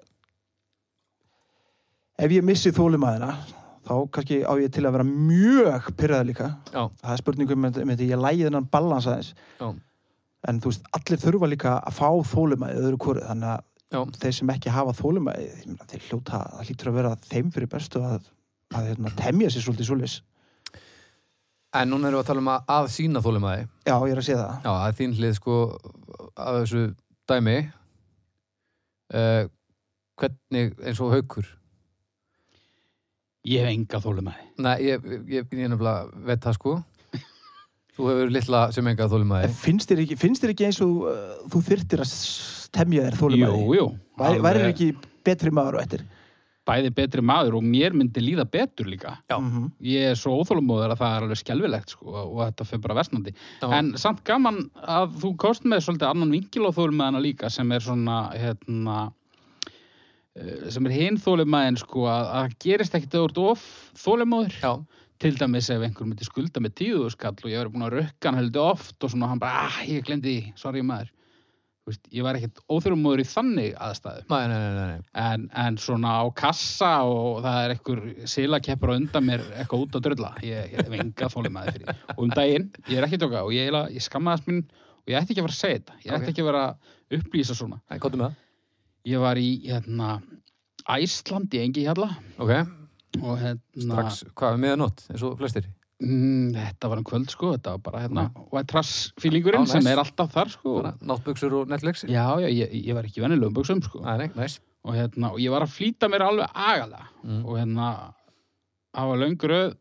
[SPEAKER 1] ef ég missi þólimaðina þá kannski á ég til að vera mjög pyrraða líka,
[SPEAKER 2] Já.
[SPEAKER 1] það er spurningum með þetta, ég lægi þennan balans aðeins
[SPEAKER 2] Já.
[SPEAKER 1] en þú veist, allir þurfa líka að fá þólimaðið öðru hvoru, þannig að
[SPEAKER 2] Já.
[SPEAKER 1] þeir sem ekki hafa þólimaðið, ég meina, þeir hljóta það hlýtur að vera þeim fyrir bestu að, að
[SPEAKER 2] [clears throat]
[SPEAKER 1] hérna, temja sér svolítið svolítið
[SPEAKER 2] En núna erum við að tala um að, að sína þólimaði.
[SPEAKER 1] já, ég er að segja það
[SPEAKER 2] Já, að þín hlið, sko, að þessu dæmi. Uh, hvernig, eins og haukur,
[SPEAKER 3] Ég hef enga þólumæði.
[SPEAKER 2] Nei, ég, ég, ég, ég nefnilega veit það sko [laughs] Þú hefur litla sem enga þólumæði
[SPEAKER 1] En finnst þér ekki, finnst þér ekki eins og uh, þú þyrtir að s- temja þér þólimaði?
[SPEAKER 3] Jú, jú.
[SPEAKER 1] Væri, væri
[SPEAKER 3] Alveg
[SPEAKER 1] ekki betri maður á eftir?
[SPEAKER 3] Bæði betri maður og mér myndi líða betur líka.
[SPEAKER 2] Já.
[SPEAKER 1] Mhm.
[SPEAKER 3] Ég er svo óþólumóður að það er alveg skelfilegt sko og þetta fyrir bara versnandi.
[SPEAKER 2] Já.
[SPEAKER 3] En samt gaman að þú kost með svolítið annan vinkil á þólumæðina líka sem er svona, hérna, eh, sem er hinn þólumæðin sko að, að gerist ekkit að þú ert of þólumóður.
[SPEAKER 2] Já,
[SPEAKER 3] til dæmis ef einhver myndi skulda með tíðu skall og ég verið búin að rökka hann heldur oft og svona hann bara, ah, ég glemdi því, sorry maður Þú veist, ég var ekkert óþjóðumóður í þannig aðstæðum
[SPEAKER 2] nei, nei, nei, nei, nei.
[SPEAKER 3] en, en svona á kassa og það er einhver silakeppur á undan mér eitthvað út að drulla ég, ég venga þóli maður fyrir því. og um daginn, ég er ekki að tóka og ég, eiginlega- ég skammaðast mín og ég ætti ekki að vera að segja þetta ég
[SPEAKER 2] Ok.
[SPEAKER 3] ætti ekki að vera að upplýsa svona
[SPEAKER 2] Nei, Kottu með
[SPEAKER 3] ég var í hérna, Æsland í engi hérna
[SPEAKER 2] það Ok,
[SPEAKER 3] og hérna
[SPEAKER 2] strax, hvað er miðanótt, eins og flestir
[SPEAKER 3] Mm, þetta var um kvöld sko, þetta var bara hérna white trash
[SPEAKER 2] Já,
[SPEAKER 3] feelingurinn
[SPEAKER 2] næs.
[SPEAKER 3] sem er alltaf þar sko.
[SPEAKER 2] Bara Náttbuxur og Netflix
[SPEAKER 3] Já, já, ég, ég var ekki í venjulegum buksum sko.
[SPEAKER 2] Nei, nei, næs
[SPEAKER 3] og hérna, og ég var að flýta mér alveg agalega
[SPEAKER 2] Mm.
[SPEAKER 3] og hérna hafa löngröð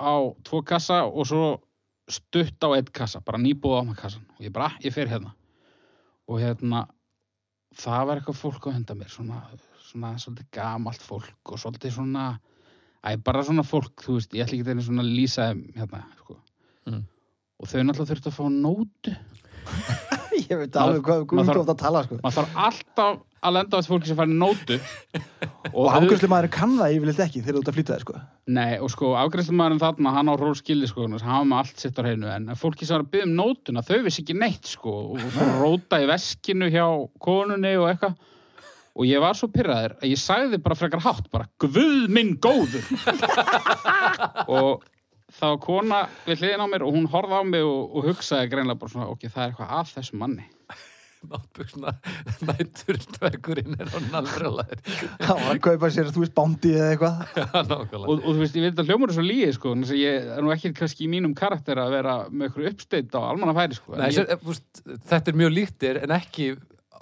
[SPEAKER 3] á tvo kassa og svo stutt á einn kassa, bara nýbúð á maður kassan og ég bara, "Ah, ég fer hérna og hérna, það var eitthvað fólk á henda mér, svona, svona svolítið gamalt fólk og svolítið svona æ, bara svona fólk, þú veist ég ætla ekki þeirni svona að lýsa þeim hérna, sko.
[SPEAKER 2] Mm.
[SPEAKER 3] og þau náttúrulega þurftu að fá nótu
[SPEAKER 1] Ég veit alveg hvað
[SPEAKER 3] maður
[SPEAKER 1] Guðmund
[SPEAKER 3] þarf-
[SPEAKER 1] ofta að tala sko.
[SPEAKER 3] maður þarf alltaf að lenda á þessu fólki sem fær nótu
[SPEAKER 1] Og
[SPEAKER 3] auðvitað-
[SPEAKER 1] afgjörslu maður kann það yfirleitt ekki þegar þú ert að flytta þér [laughs] sko.
[SPEAKER 3] Nei, og sko, afgreifslemaðurinn þarna, hann á rólskili, sko, hann var með allt sitt á hreinu, en fólki sem var að byggja um nótuna, þau vissi ekki neitt, sko, og fór að róta í veskinu hjá konunni og eitthvað. Og ég var svo pyrraður að ég sagði bara frekar hátt, bara, Guð minn góður! [laughs] og þá kona við hliðin á mér og hún horfði á mig og, og hugsaði greinlega bara svona, ok, það er eitthvað að þessum manni.
[SPEAKER 2] [laughs] Náttbuxuna, nættur dvergurinn er hann alveg alveg
[SPEAKER 1] Það var að kaupa sér, þú veist, bándi eða eitthvað
[SPEAKER 2] [laughs] Nákvæmlega
[SPEAKER 3] og, og þú veist, ég veit að hljómur er svo líið, sko, þannig að ég er nú ekki kannski í mínum karakter að vera með ykkur uppsteitt á almannafæri, sko. en
[SPEAKER 2] Nei,
[SPEAKER 3] ég-
[SPEAKER 2] sér, fúst, þetta er mjög líktir en ekki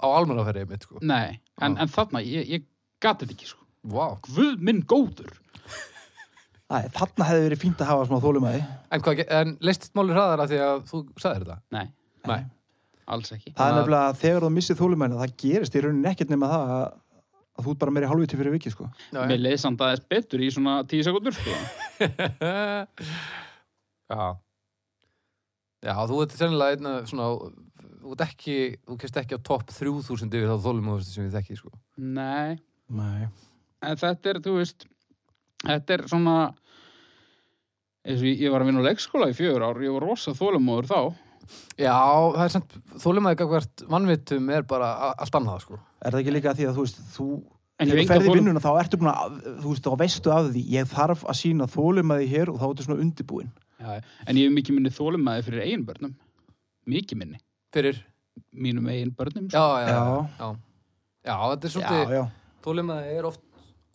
[SPEAKER 2] á almannafæri mitt, sko
[SPEAKER 3] Nei, en,
[SPEAKER 2] Já.
[SPEAKER 3] en þarna, ég, ég gati þetta ekki, sko.
[SPEAKER 2] Vá.
[SPEAKER 3] Guð minn góður.
[SPEAKER 1] Æ, þarna hefði verið fínt að hafa smá þólumæði.
[SPEAKER 2] En, hvað, ge- en leistist máli hraðar af því að þú sagðir þetta?
[SPEAKER 3] Nei,
[SPEAKER 2] Nei.
[SPEAKER 3] alls ekki.
[SPEAKER 1] Það er
[SPEAKER 2] Þannig að-
[SPEAKER 1] nefnilega að þegar þú missir þólumæðina, það gerist í rauninni ekkert nema það að, að þú ert bara meiri hálfviti fyrir vikið, sko.
[SPEAKER 3] Mér leiði samt aðeins betur í svona tíu sekundur, sko.
[SPEAKER 2] [laughs] Já. Já, þú ert sennilega einna svona, þú ert ekki, þú kemst ekki á topp 3000 yfir þá þólum sem ég þekki, sko.
[SPEAKER 3] Nei,
[SPEAKER 1] Nei.
[SPEAKER 3] en þetta er, þú veist, þetta er svona, eins og ég, ég var að vinna á leikskóla í fjögur ár, ég var rosa þólumóður þá.
[SPEAKER 2] Já, það er samt, þólum að hvert mannvitum er bara a- allt annað, sko.
[SPEAKER 1] Er það ekki líka að því að þú veist, þú,
[SPEAKER 3] En
[SPEAKER 1] þegar
[SPEAKER 3] ég
[SPEAKER 1] þú
[SPEAKER 3] venga
[SPEAKER 1] ferði í
[SPEAKER 3] þólum,
[SPEAKER 1] vinnuna, þá ertu búin að, þú veist, þá veistu af því, ég þarf að sína þólumæði hér og þá ertu svona undibúin.
[SPEAKER 3] já, en ég hef mikið minni þólumæði fyrir eigin börnum. Mikið minni.
[SPEAKER 2] Fyrir,
[SPEAKER 3] Mínum eigin börnum. sko.
[SPEAKER 2] já, já, já.
[SPEAKER 1] Já.
[SPEAKER 2] Já, já þetta er
[SPEAKER 1] Já,
[SPEAKER 2] svolítið,
[SPEAKER 1] já.
[SPEAKER 2] þólum er oft,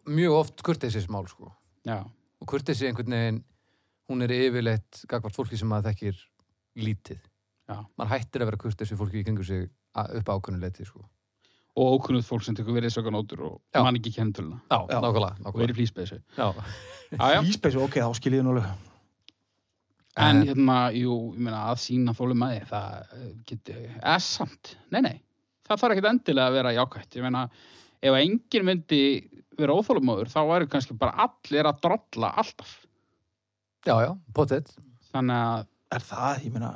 [SPEAKER 2] mjög oft kurteisismál, sko.
[SPEAKER 3] já.
[SPEAKER 2] Og kurteisi einhvern veginn, hún er yfirleitt gagvart fólki sem maður þekkir lítið.
[SPEAKER 3] Já.
[SPEAKER 2] Man hættir að vera kurteisi fólki í kringu sig að- upp á ákvörnuleiti, sko.
[SPEAKER 3] Og ókunnugt fólk sem tekur verið sökanótur og
[SPEAKER 2] Já.
[SPEAKER 3] mann ekki kennitöluna.
[SPEAKER 2] Já,
[SPEAKER 1] Já.
[SPEAKER 2] nákvæmlega,
[SPEAKER 3] Og er
[SPEAKER 2] nákvæmlega.
[SPEAKER 3] í flýsbeysu.
[SPEAKER 2] [laughs] Já.
[SPEAKER 3] Já, já.
[SPEAKER 1] Íspesu, ok, þá skil ég nálega.
[SPEAKER 3] En
[SPEAKER 2] En-
[SPEAKER 3] hérna, jú, ég meina að sína þólumæði, það eh, geti, eða samt, nei, nei, það þarf ekkit endilega að vera jákvætt, ég meina, ef enginn myndi vera óþólumóður, þá væri kannski bara allir að drolla alltaf,
[SPEAKER 2] Já, já, potið.
[SPEAKER 3] þannig að,
[SPEAKER 1] Er það, ég meina,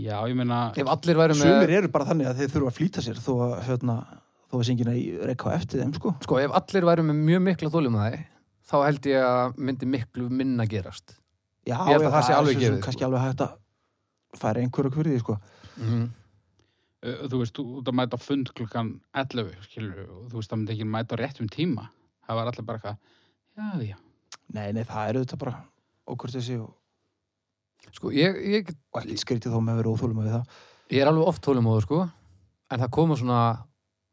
[SPEAKER 3] já, ég meina,
[SPEAKER 2] Ef allir væru með,
[SPEAKER 1] sumir eru bara þannig að þeir þurfa að flýta sér þó að, hérna, þó að syngina í rekka á eftir þeim, sko.
[SPEAKER 2] sko, ef allir væru með mjög mikla þólumæði, þá held ég að myndi miklu minna gerast.
[SPEAKER 1] Já,
[SPEAKER 2] Ég held að
[SPEAKER 1] já,
[SPEAKER 2] það sé
[SPEAKER 1] er svo
[SPEAKER 2] alveg
[SPEAKER 1] sem
[SPEAKER 2] gefið, sko.
[SPEAKER 1] Kannski alveg hægt að færa einhverju hverju því, sko.
[SPEAKER 2] Mm.
[SPEAKER 3] eh, þú veist, þú ert að mæta á fund klukkan 11, skilur, og þú veist, það myndi ekki mæta á réttum tíma, það var allir bara eitthvað, já, já,
[SPEAKER 1] Nei, nei, það eru þetta bara okkur þessi og,
[SPEAKER 2] Sko, ég, ég,
[SPEAKER 1] og ekkert skrítið þó með verið óþólum að við það.
[SPEAKER 2] ég er alveg oft þólumóður, sko, en það koma svona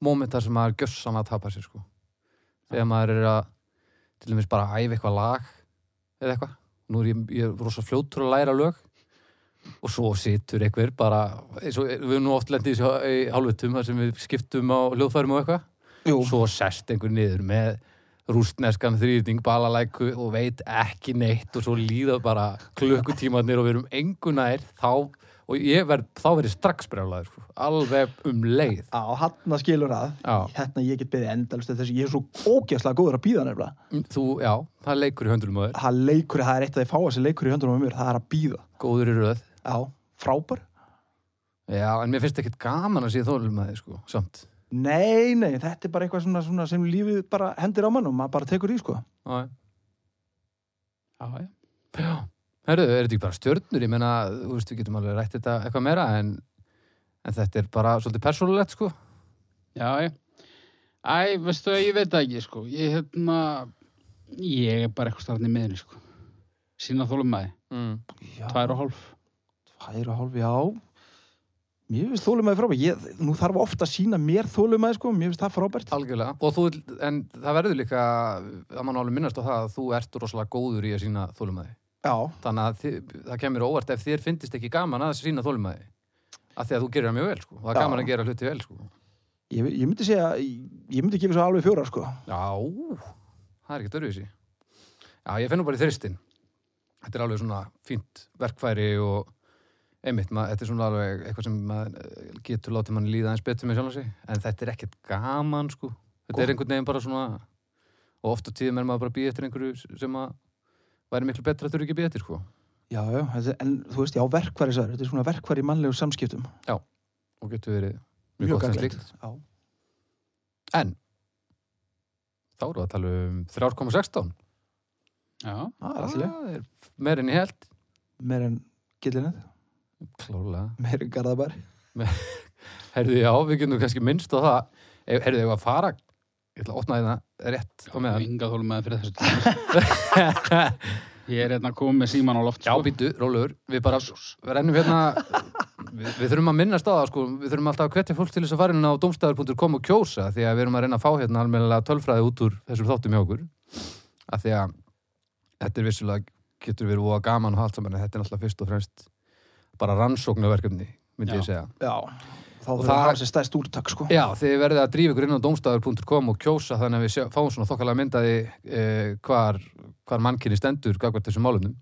[SPEAKER 2] mómentar sem maður gjössan að tapa sér, sko. Þegar maður er að, til dæmis bara að æfa eitthvað lag eða eitthvað. Nú er ég, ég er rosa fljótur að læra lög og svo situr einhver bara, eins og við erum nú oft lendið í hálfutum þar sem við skiptum á hljóðfærum og eitthvað.
[SPEAKER 1] Jú,
[SPEAKER 2] svo sest einhver niður með rústneskan þrýðning, balalæku og veit ekki neitt og svo líða bara klukkutímanir og við erum engunær þá og ég verð, þá verð ég strax brjálaður sko, alveg um leið
[SPEAKER 1] á hann að skilur að.
[SPEAKER 2] Já.
[SPEAKER 1] Hérna ég get beðið endalust þessi, ég er svo ógjastlega góður að býða nefnilega.
[SPEAKER 2] þú, já, það er leikur í höndunum á þér
[SPEAKER 1] Það leikur, það er eitt af því fáa sér leikur í höndunum á mér, það er að býða.
[SPEAKER 2] góður í röð,
[SPEAKER 1] Já, frábær.
[SPEAKER 2] já, en mér finnst ekkert gaman að sé þólum að þið, sko, samt
[SPEAKER 1] Nei, nei, þetta er bara eitthvað svona, svona sem lífið bara hendir á mann og maður bara tekur í, sko.
[SPEAKER 2] já,
[SPEAKER 3] já, já,
[SPEAKER 2] já herru, er þetta ekki bara stjörnur, ég meina þú veist, við getum alveg rætt þetta eitthvað meira en, en þetta er bara svolítið persónulegt, sko
[SPEAKER 3] já, já, æ, veistu, ég veit það ekki, sko, ég, hérna, ég er bara eitthvað starfni meðinni, sko, sína þólumæði.
[SPEAKER 2] mm.
[SPEAKER 1] Já.
[SPEAKER 3] tvær og hálf
[SPEAKER 1] Tvær og hálf, já. Mér finnst þólumæði frábært. Ég, nú þarf ofta að sína mér þólumæði, sko. Mér finnst það frábært.
[SPEAKER 2] Algjörlega, og þú, vill- en það verður líka að mann alveg minnast á það að þú ert rosalega góður í að sína þólumæði
[SPEAKER 1] Já,
[SPEAKER 2] þannig að þið, það kemur óvart ef þér finnist ekki gaman að sína þólumæði af því að þú gerir það mjög vel, sko, það er
[SPEAKER 1] Já.
[SPEAKER 2] gaman að gera hluti vel, sko
[SPEAKER 1] ég, ég myndi segja, ég myndi gefa svo alveg fjórar, sko.
[SPEAKER 2] Já, það er ekki dörfið sér Já, ég finn nú bara í þristin Þetta er alveg svona fínt verkfæri og einmitt, maður, þetta er svona alveg eitthvað sem maður eh, getur látið mann líða eins betur með sjálf sig, en þetta er ekkert gaman sko, þetta er einhvern veginn bara svona og oft á tíðum er maður bara að býja eftir einhverju sem að væri miklu betra að þurfi ekki að býja eftir sko
[SPEAKER 1] Já, já, þetta, en þú veist, já, verkværi sæður. Þetta er svona verkværi í mannlegu samskiptum.
[SPEAKER 2] og getur verið mjög, gott sem
[SPEAKER 1] gagnlegt.
[SPEAKER 2] slíkt
[SPEAKER 1] Já.
[SPEAKER 2] Þá eru að tala um 3,16
[SPEAKER 3] Já,
[SPEAKER 1] Já, það er alltaf leið.
[SPEAKER 2] Það er meir en ég held
[SPEAKER 1] Meir en gillinett,
[SPEAKER 2] Klálega
[SPEAKER 1] meir en garðabær.
[SPEAKER 2] Herðu, já, við getum kannski minnst á það. Ef- Herðu, ef að fara, ég ætla að opna þeirna rétt á meðan.
[SPEAKER 3] vinga þólum fyrir þessu sko.
[SPEAKER 2] [laughs]
[SPEAKER 3] Ég er hérna komið með síman á loft sko.
[SPEAKER 2] Já, býtu, rólaugur, við bara rennum hérna, við, við þurfum að minnast á það, sko, við þurfum alltaf að hvetja fólk til þess að fara inn á domstæður.com og kjósa, því að við erum að reyna að fá hérna almennilega tölfræði út úr þessum þáttum hjá okkur, af því að þetta er vissulega, getur verið voða gaman og allt saman, en þetta er alltaf fyrst og fremst bara rannsóknarverkefni, myndi
[SPEAKER 3] Já.
[SPEAKER 2] ég segja.
[SPEAKER 1] Já. þá þurfum við
[SPEAKER 2] það-
[SPEAKER 1] að hafa sér stæðst úrtak sko.
[SPEAKER 2] Já, þið verðið að drífa ykkur inn á domstafur.com og kjósa þannig að við sjá, fáum svona þokkalega myndaði eh, hvar, hvar mannkynni stendur gagvart þessum málumnum.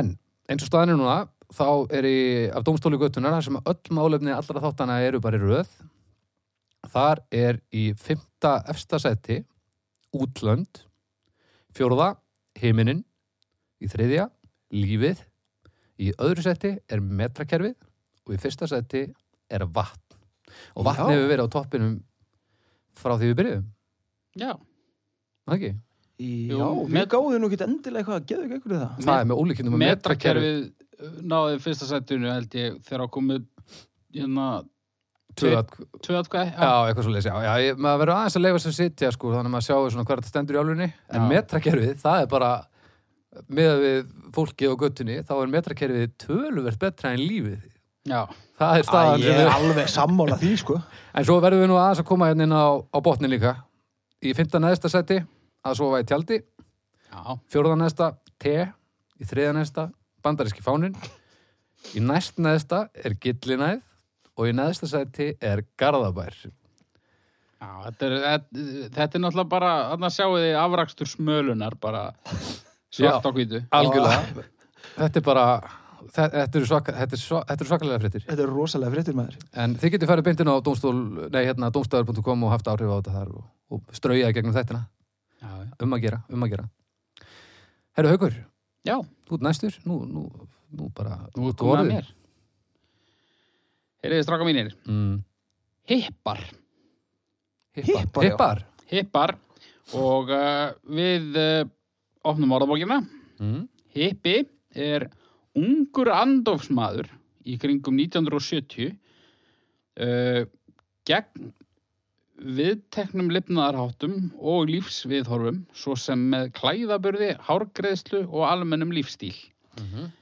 [SPEAKER 2] En eins og staðan er núna, þá er í af domstóli göttunar þar sem öll málefni allra þáttana eru bara í röð. Þar er í fymta efsta seti útlönd, fjórða heiminin, í þriðja lífið, í öðru seti er metrakerfið og í fyrsta seti er vatn. Og vatn
[SPEAKER 1] Já.
[SPEAKER 2] hefur verið á toppinum frá því við byrjuðum,
[SPEAKER 3] Já,
[SPEAKER 2] er það ekki?
[SPEAKER 1] Í-
[SPEAKER 3] Jú,
[SPEAKER 1] Já, við
[SPEAKER 3] met-
[SPEAKER 1] gáðum nú ekki endilega eitthvað að geða ykkur í það
[SPEAKER 2] Það er með ólíkindum um að metrakerfið
[SPEAKER 3] metrakerfið uh, náði fyrsta sættinu held ég þegar á komið hérna,
[SPEAKER 2] tvö að-
[SPEAKER 3] tvö atkvæði.
[SPEAKER 2] Já, eitthvað svo já, já, ég, maður verður aðeins að leifa sér að sitja sko, þannig að maður sjáu svona hvað þetta stendur í álunni en
[SPEAKER 3] Já.
[SPEAKER 2] metrakerfið, það er bara meðan við fólkið á göttunni þá er metrakerfið töluvert betra en lífið
[SPEAKER 3] Já,
[SPEAKER 2] það er staðan
[SPEAKER 1] Æ, ég er
[SPEAKER 2] yeah.
[SPEAKER 1] alveg sammála því sko.
[SPEAKER 2] en svo verðum við nú aðeins að koma hérna inn á, á botnin líka í 15. neðsta seti að sofa í tjaldi
[SPEAKER 3] já,
[SPEAKER 2] fjórða neðsta te í þriða neðsta bandaríski fáninn í næst neðsta er gillinæð og í neðsta seti er garðabær
[SPEAKER 3] já þetta, er, þetta, þetta er náttúrulega bara, þarna sjáu þið afrakstur smölunar bara svart á hvítu.
[SPEAKER 2] Algjörlega Þetta er bara þe- Þetta eru svaka, þetta er sva- þetta eru svakalega fréttir
[SPEAKER 1] Þetta er rosalega fréttir maður
[SPEAKER 2] En þið getur farið beintin á domstól Nei, hérna, domstafur.com og haft áhrif á þetta þar og, og strauja gegnum þettina
[SPEAKER 3] Já, já.
[SPEAKER 2] Um að gera, um að gera Herru Haukur,
[SPEAKER 3] já.
[SPEAKER 2] þú ert næstur Nú, nú, nú bara
[SPEAKER 3] Nú
[SPEAKER 2] þú
[SPEAKER 3] er komið að
[SPEAKER 2] orðið.
[SPEAKER 3] mér. Heyriði stráka mínir.
[SPEAKER 2] mm,
[SPEAKER 3] Hippar.
[SPEAKER 1] Hippar,
[SPEAKER 2] Hippar,
[SPEAKER 1] já.
[SPEAKER 2] hippar.
[SPEAKER 3] Hippar. Og uh, við uh, opnum orðabókina.
[SPEAKER 2] Mm,
[SPEAKER 3] Hippi er ungur andofsmaður í kringum 1970 uh, gegn viðteknum lifnaðarháttum og lífsviðhorfum svo sem með klæðaburði, hárgreðslu og almennum lífstíl
[SPEAKER 2] mhm.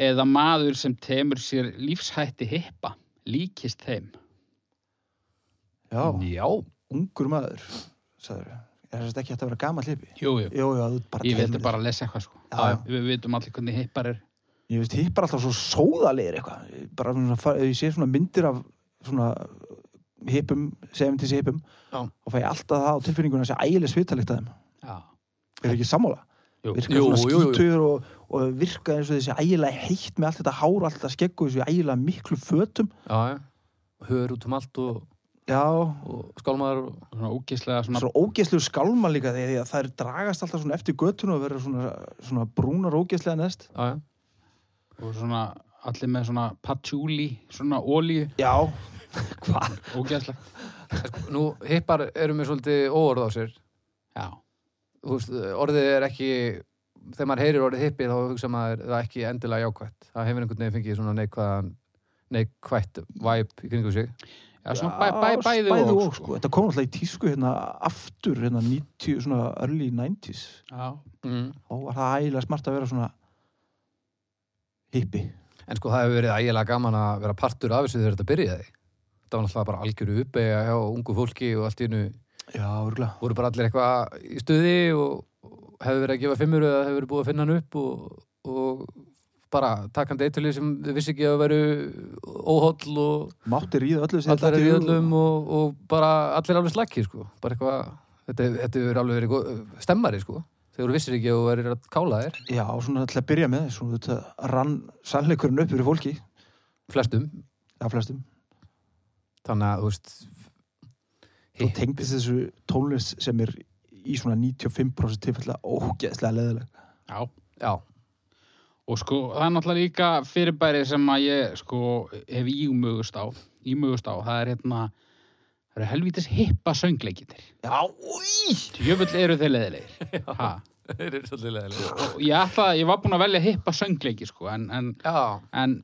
[SPEAKER 3] eða maður sem temur sér lífshætti hippa líkist þeim.
[SPEAKER 1] Já,
[SPEAKER 2] Já,
[SPEAKER 1] Mm. ungur maður sagður. Er þetta ekki hægt að vera gamall hippi?
[SPEAKER 3] Jú, jú.
[SPEAKER 1] Jú, já, þú ert bara
[SPEAKER 3] Ég
[SPEAKER 1] teymir
[SPEAKER 3] vildi
[SPEAKER 1] þig.
[SPEAKER 3] bara að lesa eitthvað sko.
[SPEAKER 1] Já, já.
[SPEAKER 3] Við vitum allir hvernig hippar er.
[SPEAKER 1] Ég veist, hippar alltaf svo sóðalegir eitthvað. Ég Bara svona, fa- ef ég sé svona myndir af svona hippum, 70s hippum
[SPEAKER 2] Já.
[SPEAKER 1] og fæ ég alltaf það á tilfinninguna að sé ægileg svitalikt að þeim.
[SPEAKER 3] Já.
[SPEAKER 1] Er ekki sammála?
[SPEAKER 3] Jú.
[SPEAKER 1] Virka
[SPEAKER 2] Jú,
[SPEAKER 1] svona
[SPEAKER 2] jú, jú.
[SPEAKER 1] skítur og, og virka eins og þessi ægilega heitt með allt þetta hár, allt þetta skegg og þessu ægilega miklu fötum.
[SPEAKER 2] já, já Hör út um allt og,
[SPEAKER 1] Já,
[SPEAKER 2] og skálmaður og...
[SPEAKER 3] Svona ógislega svona...
[SPEAKER 1] svo ógeðslu skálma líka því að það er dragast alltaf svona eftir göttun og verður svona, svona brúnar ógeðslega neðst
[SPEAKER 2] Já, já
[SPEAKER 3] og svona allir með svona patchouli, svona ólíu
[SPEAKER 1] já, hvað?
[SPEAKER 3] ógæðslega.
[SPEAKER 2] Nú, hippar eru mér svolítið óorð á sér
[SPEAKER 3] Já,
[SPEAKER 2] þú veist, orðið er ekki þegar maður heyrir orðið hippi þá hugsa maður það er ekki endilega jákvætt það hefur einhvern veginn fengið svona neikvæðan neikvætt væp í kringum sig
[SPEAKER 3] já svona bæ, bæ, bæði,
[SPEAKER 1] bæði
[SPEAKER 3] og,
[SPEAKER 1] og, sko. þetta kom alltaf í tísku hérna aftur hérna 90, svona early 90s
[SPEAKER 3] Já.
[SPEAKER 2] mm.
[SPEAKER 1] þá var það ægilega smart að vera svona hippi
[SPEAKER 2] en sko það hefur verið ægilega gaman að vera partur af þessu þegar þetta byrjaði það var náttúrulega bara algjöru uppeyja hjá ungu fólki og allt í innu
[SPEAKER 1] já, örgulega
[SPEAKER 2] voru bara allir eitthvað í stuði og og hefur verið að gefa fimmur eða hefur verið búið að finna hann upp og, og bara takandi eitulið sem þau vissi ekki að veru óhóll og
[SPEAKER 1] mátti ríða öllu sem
[SPEAKER 2] allar
[SPEAKER 1] þetta
[SPEAKER 2] er í
[SPEAKER 1] datt í hug.
[SPEAKER 2] öllum og, og bara allir alveg slakki sko. bara eitthvað þetta, þetta er alveg verið gó- stemmari sko. þegar þú vissir ekki að þú verður að kála þér
[SPEAKER 1] já, svona til að byrja með svona þetta rann sannleikurinn upp fyrir fólki
[SPEAKER 2] flestum,
[SPEAKER 1] það flestum
[SPEAKER 2] þannig að þú veist
[SPEAKER 1] þú tengdist þessu tónlist sem er í svona 95% tilfella ógeðslega leðileg
[SPEAKER 3] já.
[SPEAKER 2] já,
[SPEAKER 3] Og sko, það er náttúrulega líka fyrirbæri sem að ég sko hef ímugust á, ímugust á, það er hérna, það eru helvítis hippa söngleikinir.
[SPEAKER 1] Já, úi!
[SPEAKER 3] Jöfull eru þeir
[SPEAKER 1] [laughs]
[SPEAKER 3] leðilegir. Ha.
[SPEAKER 2] [laughs] þeir eru svolítið leðilega
[SPEAKER 3] Og ég ætla, ég var búinn að velja hippa söngleiki sko, en, en
[SPEAKER 2] já,
[SPEAKER 3] en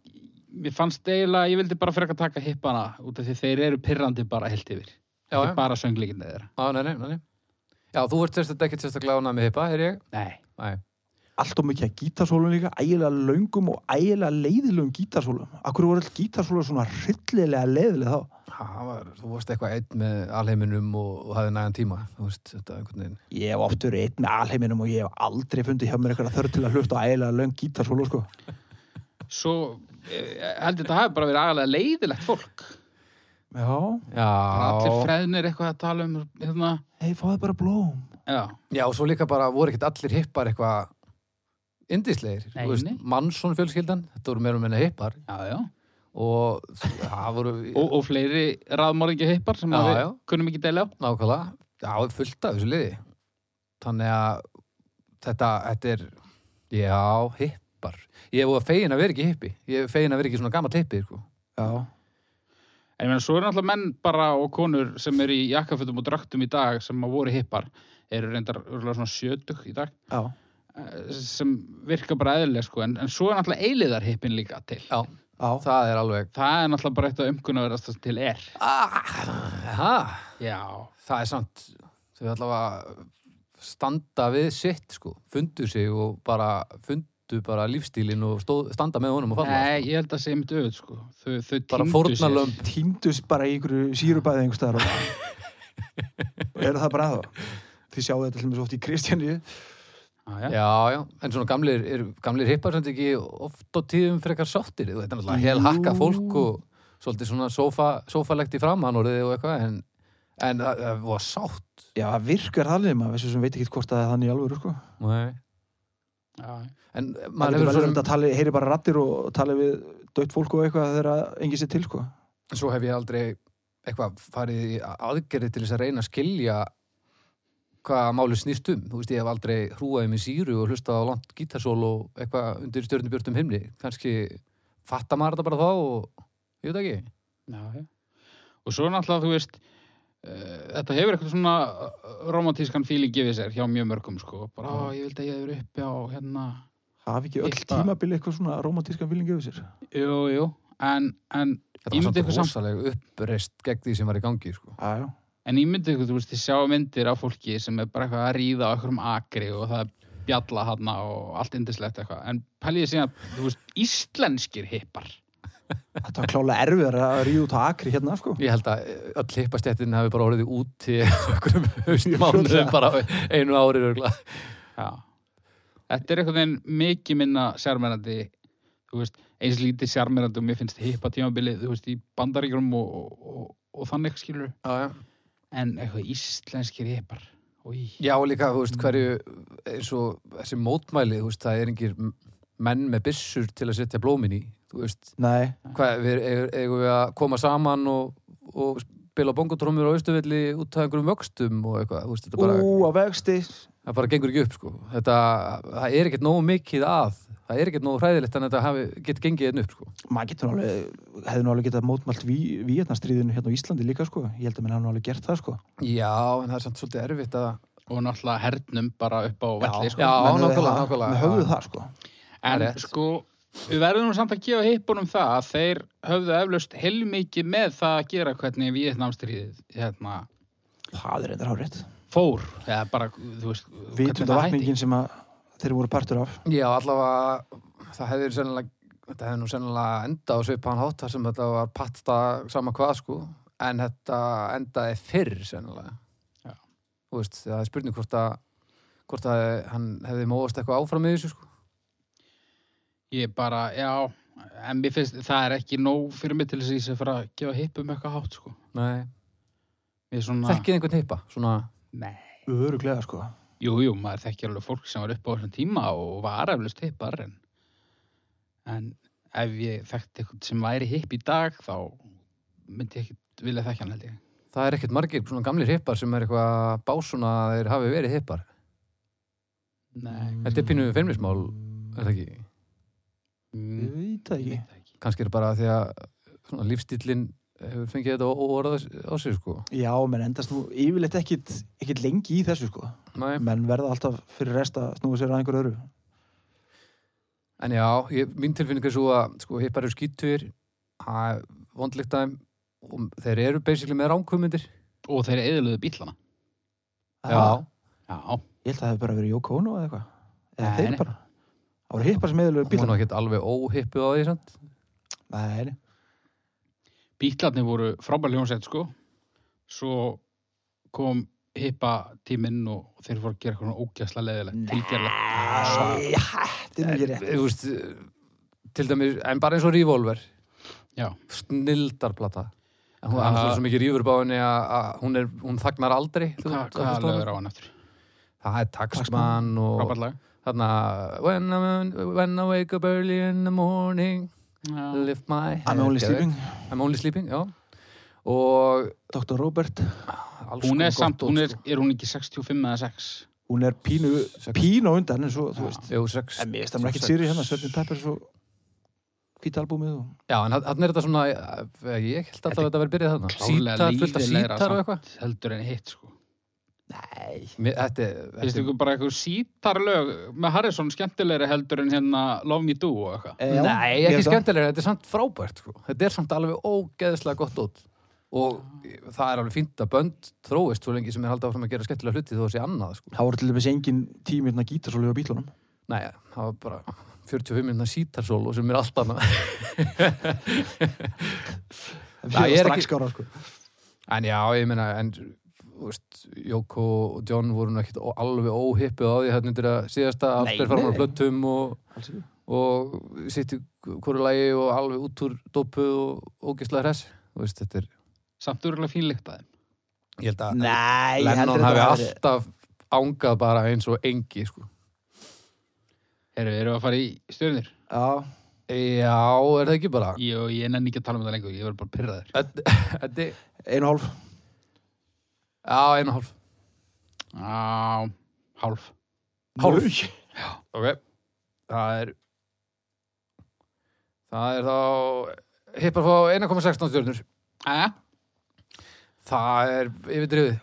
[SPEAKER 3] mér fannst eiginlega, ég vildi bara frekar taka hippana út af því þeir eru pirrandi bara heilt yfir
[SPEAKER 2] Já,
[SPEAKER 3] ekki
[SPEAKER 2] já.
[SPEAKER 3] bara söngleikindi þeirra
[SPEAKER 2] á, nei, nei, nei. já, þú ert sérstaklega ekki sérstaklega ánað með hippa, er ég?
[SPEAKER 3] Nei.
[SPEAKER 2] Nei.
[SPEAKER 1] Allt og mikið að gítarsólum líka, ægilega löngum og ægilega leiðilegum gítarsólum. Akkur voru all gítarsólar svona hryllilega leiðileg þá?
[SPEAKER 2] Það var, þú varst eitthvað einn með alheiminum og, og hafði nægan tíma þú veist, þetta einhvern veginn
[SPEAKER 1] Ég hef oft verið einn með alheiminum og ég hef aldrei fundið hjá mér eitthvað þörf til að hlusta á ægilega löng gítarsólu, sko.
[SPEAKER 3] svo eh, held ég þetta hafi bara verið agalega leiðilegt fólk
[SPEAKER 1] Já,
[SPEAKER 3] Bara allir
[SPEAKER 2] Já,
[SPEAKER 3] freðnir eitthvað að tala um hérna.
[SPEAKER 1] hei, fáðu bara blóm.
[SPEAKER 3] Já,
[SPEAKER 2] já, og svo líka bara voru ekkert allir hippar eitthvað indislegir.
[SPEAKER 3] Nei,
[SPEAKER 2] Þú veist,
[SPEAKER 3] nei.
[SPEAKER 2] Manson fjölskyldan, þetta voru meira og minna hippar
[SPEAKER 3] já, já.
[SPEAKER 2] og það voru
[SPEAKER 3] Og, og fleiri ráðmorðingi heipar sem
[SPEAKER 2] Já,
[SPEAKER 3] að við
[SPEAKER 2] já.
[SPEAKER 3] kunnum ekki deila á.
[SPEAKER 2] nákvæmlega, já, fullt af þessu liði. Þannig að þetta, þetta er, já, hippar. Ég hef voru fegin að vera ekki hippi. Ég hef fegin að vera ekki svona gammal hippi, sko.
[SPEAKER 1] Já,
[SPEAKER 3] En ég meina, svo eru náttúrulega menn bara og konur sem eru í jakkafötum og draktum í dag sem að voru hippar, eru reyndar örugglega svona sjötug í dag,
[SPEAKER 1] já,
[SPEAKER 3] eh, sem virka bara eðlilega sko, en, en svo er náttúrulega eiliðar hippin líka til.
[SPEAKER 2] Já,
[SPEAKER 1] já.
[SPEAKER 2] það er alveg,
[SPEAKER 3] Það er náttúrulega bara eitt af umkunnaverðast sem til er.
[SPEAKER 2] ah, ha,
[SPEAKER 3] Já,
[SPEAKER 2] það er samt þau allavega standa við sitt sko, fundu sig og bara fundu bara lífstílin og stóð, standa með honum og falla
[SPEAKER 3] Nei,
[SPEAKER 2] sko.
[SPEAKER 3] ég held að segja mitt auð, sko. Þau,
[SPEAKER 2] Bara
[SPEAKER 3] þau týndu sér.
[SPEAKER 2] fórnarlömb.
[SPEAKER 1] Týndust bara í ykkur sírubæði einhver staðar og og eru það bara aðhá. Þið sjáðu þetta til mér svo oft í Kristjaníu.
[SPEAKER 3] Já, já.
[SPEAKER 2] Já, já, en svona gamlir, er, gamlir hippar sem þetta ekki oft á tíðum frekar sáttir þú veit, þetta er náttúrulega hel hakka fólk og svolítið svona sófa, sófalegt í framanorðið og eitthvað, en, en það það var sátt
[SPEAKER 1] Já, það virkar það liðum að þessu sem veit ekki hvort það er þannig í alvöru, sko.
[SPEAKER 2] Nei.
[SPEAKER 3] já.
[SPEAKER 2] en
[SPEAKER 1] Maður
[SPEAKER 2] maður hefur
[SPEAKER 1] svo
[SPEAKER 2] svo,
[SPEAKER 1] sem... Tali, heyri bara rattir og tali við dött fólk og eitthvað þegar engi sér til, sko.
[SPEAKER 2] svo hef ég aldrei eitthvað farið í aðgerði til þess að reyna að skilja hvað máli snýst um þú veist ég hef aldrei hrúaði mig síru og hlustað á langt gítarsól og eitthvað undir stjörnubjörtum himni kannski fattar maður þetta bara þá og ég veit ekki
[SPEAKER 3] já, já. Og svo náttúrulega, þú veist, uh, þetta hefur eitthvað svona eh, romantískan feeling gefið sér hjá mjög mörgum, sko. Bara, ó, ég vildi að ég hefur uppi á hérna.
[SPEAKER 1] Hafi ekki öll
[SPEAKER 3] Eitthvað-
[SPEAKER 1] tímabili eitthvað svona romantískan viljum gefið sér.
[SPEAKER 3] Jú, jú. En, en,
[SPEAKER 2] þetta
[SPEAKER 3] Ímyndið
[SPEAKER 2] var
[SPEAKER 3] ykkur
[SPEAKER 2] samt
[SPEAKER 3] samt-
[SPEAKER 2] rosalega uppreist gegn því sem var í gangi sko.
[SPEAKER 1] Já, já.
[SPEAKER 3] en ég myndi ykkur, þú veist, ég sjá myndir af fólki sem er bara eitthvað að ríða á einhverjum akri og það er bjalla hana og allt indislegt eitthvað. En pæliði síðan, þú veist, íslenskir hippar.
[SPEAKER 1] Þetta var klálega erfiðar að ríða út á akri hérna, sko.
[SPEAKER 2] ég held að eh, öll hippastettin hafi bara orðið úti [laughs] á einhverjum haustmánuðum
[SPEAKER 1] fljótlega.
[SPEAKER 2] bara á einu ári örugglega.
[SPEAKER 3] Já. Þetta er einhvern veginn mikið minna sérmennandi, þú veist, eins lítið sérmennandi og mér finnst hippa tímabilið, þú veist, í bandaríkjum og, og, og, og þannig skilur.
[SPEAKER 2] já, já.
[SPEAKER 3] En eitthvað íslenskir hippar. Új.
[SPEAKER 2] Já, og líka, þú veist, hverju eins og þessi mótmæli, þú veist, það er engir m- menn með byssur til að setja blómin í, þú veist,
[SPEAKER 1] Nei,
[SPEAKER 2] hvað, við eigum- eigum við að koma saman og, og spila bongotrömmur á austuvelli út af einhverjum vöxtum og eitthvað, þú veist, þetta bara,
[SPEAKER 1] ú, á vegsti.
[SPEAKER 2] það bara gengur ekki upp, sko, þetta, það er ekkert nógu mikið að, það er ekkert nógu hræðilegt en þetta hafi, getur gengið einn upp, sko.
[SPEAKER 1] Maður getur nú alveg, hefði nú alveg getað mótmælt Víetnastríðinu hérna á Íslandi líka, sko. Ég held að minn hafa nú alveg gert það, sko.
[SPEAKER 2] Já, en það er samt svolítið erfitt að,
[SPEAKER 3] Og náttúrulega hernum bara upp á velli, sko.
[SPEAKER 2] já,
[SPEAKER 1] Menn höfðu
[SPEAKER 2] nákvæmlega,
[SPEAKER 1] það-
[SPEAKER 2] nákvæmlega.
[SPEAKER 1] menn höfðu það, sko.
[SPEAKER 3] en
[SPEAKER 2] rétt.
[SPEAKER 3] sko, við verðum nú samt að gefa hippunum það að þeir höfðu eflaust heilmikið með það að gera hvernig Vietnamstríðið, hérna,
[SPEAKER 1] Það er reyndar hárétt.
[SPEAKER 3] fór. Eða bara, þú veist, hvernig
[SPEAKER 1] Vitunda
[SPEAKER 3] það hætti.
[SPEAKER 1] vatningin sem að þeir voru partur af.
[SPEAKER 2] Já, allavega það hefði sennilega þetta hefði nú sennilega enda á svipaðan hátt þar sem þetta var patta sama hvað sko en þetta endaði fyrr sennilega
[SPEAKER 3] Já.
[SPEAKER 2] Þú veist, það er spurning hvort að hvort að hann hefði móðast eitthvað áfram í þessu sko
[SPEAKER 3] Ég bara, já, en mér finnst, það er ekki nóg fyrir mig til þess að ég sé fara að gefa hippum eitthvað hátt, sko.
[SPEAKER 2] Nei,
[SPEAKER 3] Ég er svona,
[SPEAKER 2] þekkið einhvern hippa svona,
[SPEAKER 3] nei.
[SPEAKER 1] Öruglega, sko.
[SPEAKER 3] Jú, jú, maður þekkir alveg fólk sem var upp á þessum tíma og var eflust hippar, en, en ef ég þekkti eitthvað sem væri hipp í dag, þá myndi ég ekki vilja þekkja hann, held ég.
[SPEAKER 2] það er ekkert margir svona gamlir hippar sem er eitthvað básuna að þeir hafi verið hippar
[SPEAKER 3] Nei,
[SPEAKER 2] Þetta er pínu feimnismál, er það ekki?
[SPEAKER 1] Ég
[SPEAKER 3] mm,
[SPEAKER 1] veit það
[SPEAKER 3] ég
[SPEAKER 1] ekki.
[SPEAKER 3] veit það ekki.
[SPEAKER 2] Kannski er bara því að svona, lífstíllinn hefur fengið þetta óorðað á sig sko
[SPEAKER 1] Já, menn endast nú yfirleitt ekkit, ekkit lengi í þessu, sko.
[SPEAKER 2] Nei.
[SPEAKER 1] Menn verða alltaf fyrir rest að snúa sér að einhverju öðru.
[SPEAKER 2] En já, ég, mín tilfinning er svo að sko, hippar eru skýttur, það er vondlíkt að þeim og þeir eru basically með ránkvömyndir.
[SPEAKER 3] Og þeir eðluðu bílana.
[SPEAKER 1] Það-
[SPEAKER 3] Já,
[SPEAKER 1] Ah, Ég held að það hefði bara verið Jók Ono eða eitthvað. Eða
[SPEAKER 3] Nei, nei.
[SPEAKER 1] þeir bara. Það voru hippar sem eðalögur
[SPEAKER 2] Hún er
[SPEAKER 1] bílar.
[SPEAKER 2] nú ekkert alveg óhippuð á því, sant?
[SPEAKER 1] Nei, nei.
[SPEAKER 3] bílarnir voru frábæð hljónsett, sko. Svo kom hippa tíminn og þeir fóru að gera eitthvað ógæsla leðilegt, tilgerlegt.
[SPEAKER 1] Æ, Þetta er nú ekki rétt.
[SPEAKER 2] Þú veist, til dæmis, en bara eins og Revolver,
[SPEAKER 3] Já,
[SPEAKER 2] snildarplata. En Hún er
[SPEAKER 3] Hva-
[SPEAKER 2] alltaf svo mikið rífur báinni að að hún, er, hún þagnar aldrei. þú
[SPEAKER 3] Hva-
[SPEAKER 2] veist,
[SPEAKER 3] Hvaða
[SPEAKER 2] allt
[SPEAKER 3] lög
[SPEAKER 2] svona.
[SPEAKER 3] er á hann eftir?
[SPEAKER 2] Það er Taxman og
[SPEAKER 3] Frábært lag.
[SPEAKER 2] þarna when, I'm, when I wake up early in the morning
[SPEAKER 3] Já.
[SPEAKER 2] lift my head
[SPEAKER 1] I'm only sleeping,
[SPEAKER 2] I'm only sleeping, já. Og
[SPEAKER 1] Dr. Robert
[SPEAKER 2] alls
[SPEAKER 3] Hún
[SPEAKER 2] konar
[SPEAKER 3] er samt,
[SPEAKER 2] gott
[SPEAKER 3] hún
[SPEAKER 2] dót,
[SPEAKER 3] er, er hún ekki 65 eða 6?
[SPEAKER 1] hún er pínu,
[SPEAKER 2] Sex.
[SPEAKER 1] pínu á undan en svo, þú veist
[SPEAKER 2] sko. Jú, sex.
[SPEAKER 1] en mér finnst hann ekki sýri hérna, Sveitin Pepper svo hvít albúmið og
[SPEAKER 2] Já, en hann er þetta svona, eh, ég held alltaf að þetta verið byrjað þarna.
[SPEAKER 3] Klárlega
[SPEAKER 2] Sítar, fullt af
[SPEAKER 3] leiðilegra
[SPEAKER 2] sítar og eitthvað.
[SPEAKER 3] samt heldur en hitt sko
[SPEAKER 1] Nei,
[SPEAKER 2] Mér- Þetta er...
[SPEAKER 3] finnst
[SPEAKER 2] þetta er-
[SPEAKER 3] ykkur bara eitthvað sítarlög með Harrison skemmtilegri heldur en hérna Love Me Do og eitthvað
[SPEAKER 2] Eh-
[SPEAKER 1] e, já,
[SPEAKER 2] Nei,
[SPEAKER 1] mér
[SPEAKER 2] ekki
[SPEAKER 1] finnst það.
[SPEAKER 2] skemmtilega, þetta er samt frábært sko. Þetta er samt alveg ógeðslega gott út og það er alveg fínt að bönd þróist svo lengi sem er haldið áfram að gera skemmtilega hluti þó að sé annað sko.
[SPEAKER 1] Það voru til dæmis engin hérna tímirna gítarsólu á bílunum
[SPEAKER 2] Nei, það var bara 45 minna sítarsólu sem er allt annað
[SPEAKER 1] Það
[SPEAKER 2] ég er
[SPEAKER 1] er strax
[SPEAKER 2] ekki-
[SPEAKER 1] skára sko
[SPEAKER 2] En já, ég meina, en þú veist, Jóko og John voru nú ekkit ó- alveg óhippið á því hérna undir að síðasta
[SPEAKER 1] Nei,
[SPEAKER 2] allt er farin á
[SPEAKER 1] nei.
[SPEAKER 2] plöttum og,
[SPEAKER 1] Alls ekki.
[SPEAKER 2] og sitt í hverju lagi og alveg út úr dópuð og ógeðslega hress Þú veist, þetta er,
[SPEAKER 3] samt úrlega fínlíkt að þeim
[SPEAKER 2] ég held að
[SPEAKER 1] Nei, ég heldur
[SPEAKER 2] Lennon hafi
[SPEAKER 1] þetta verið-
[SPEAKER 2] alltaf ángað bara eins og engi sko.
[SPEAKER 3] Herru, erum við að fara í stjörnir?
[SPEAKER 1] Já,
[SPEAKER 2] Já, er það ekki bara
[SPEAKER 3] Ég, ég nenni ekki að tala um það lengur, ég verður bara pyrraður
[SPEAKER 2] Þetta er-
[SPEAKER 1] einu og hálf
[SPEAKER 2] Já, einu og hálf
[SPEAKER 3] Á, hálf
[SPEAKER 2] Hálf.
[SPEAKER 1] Nú,
[SPEAKER 2] Ok Það er Það er þá Hippar fá 1,16 stjörnur
[SPEAKER 3] Æja,
[SPEAKER 2] Það er yfirdrifið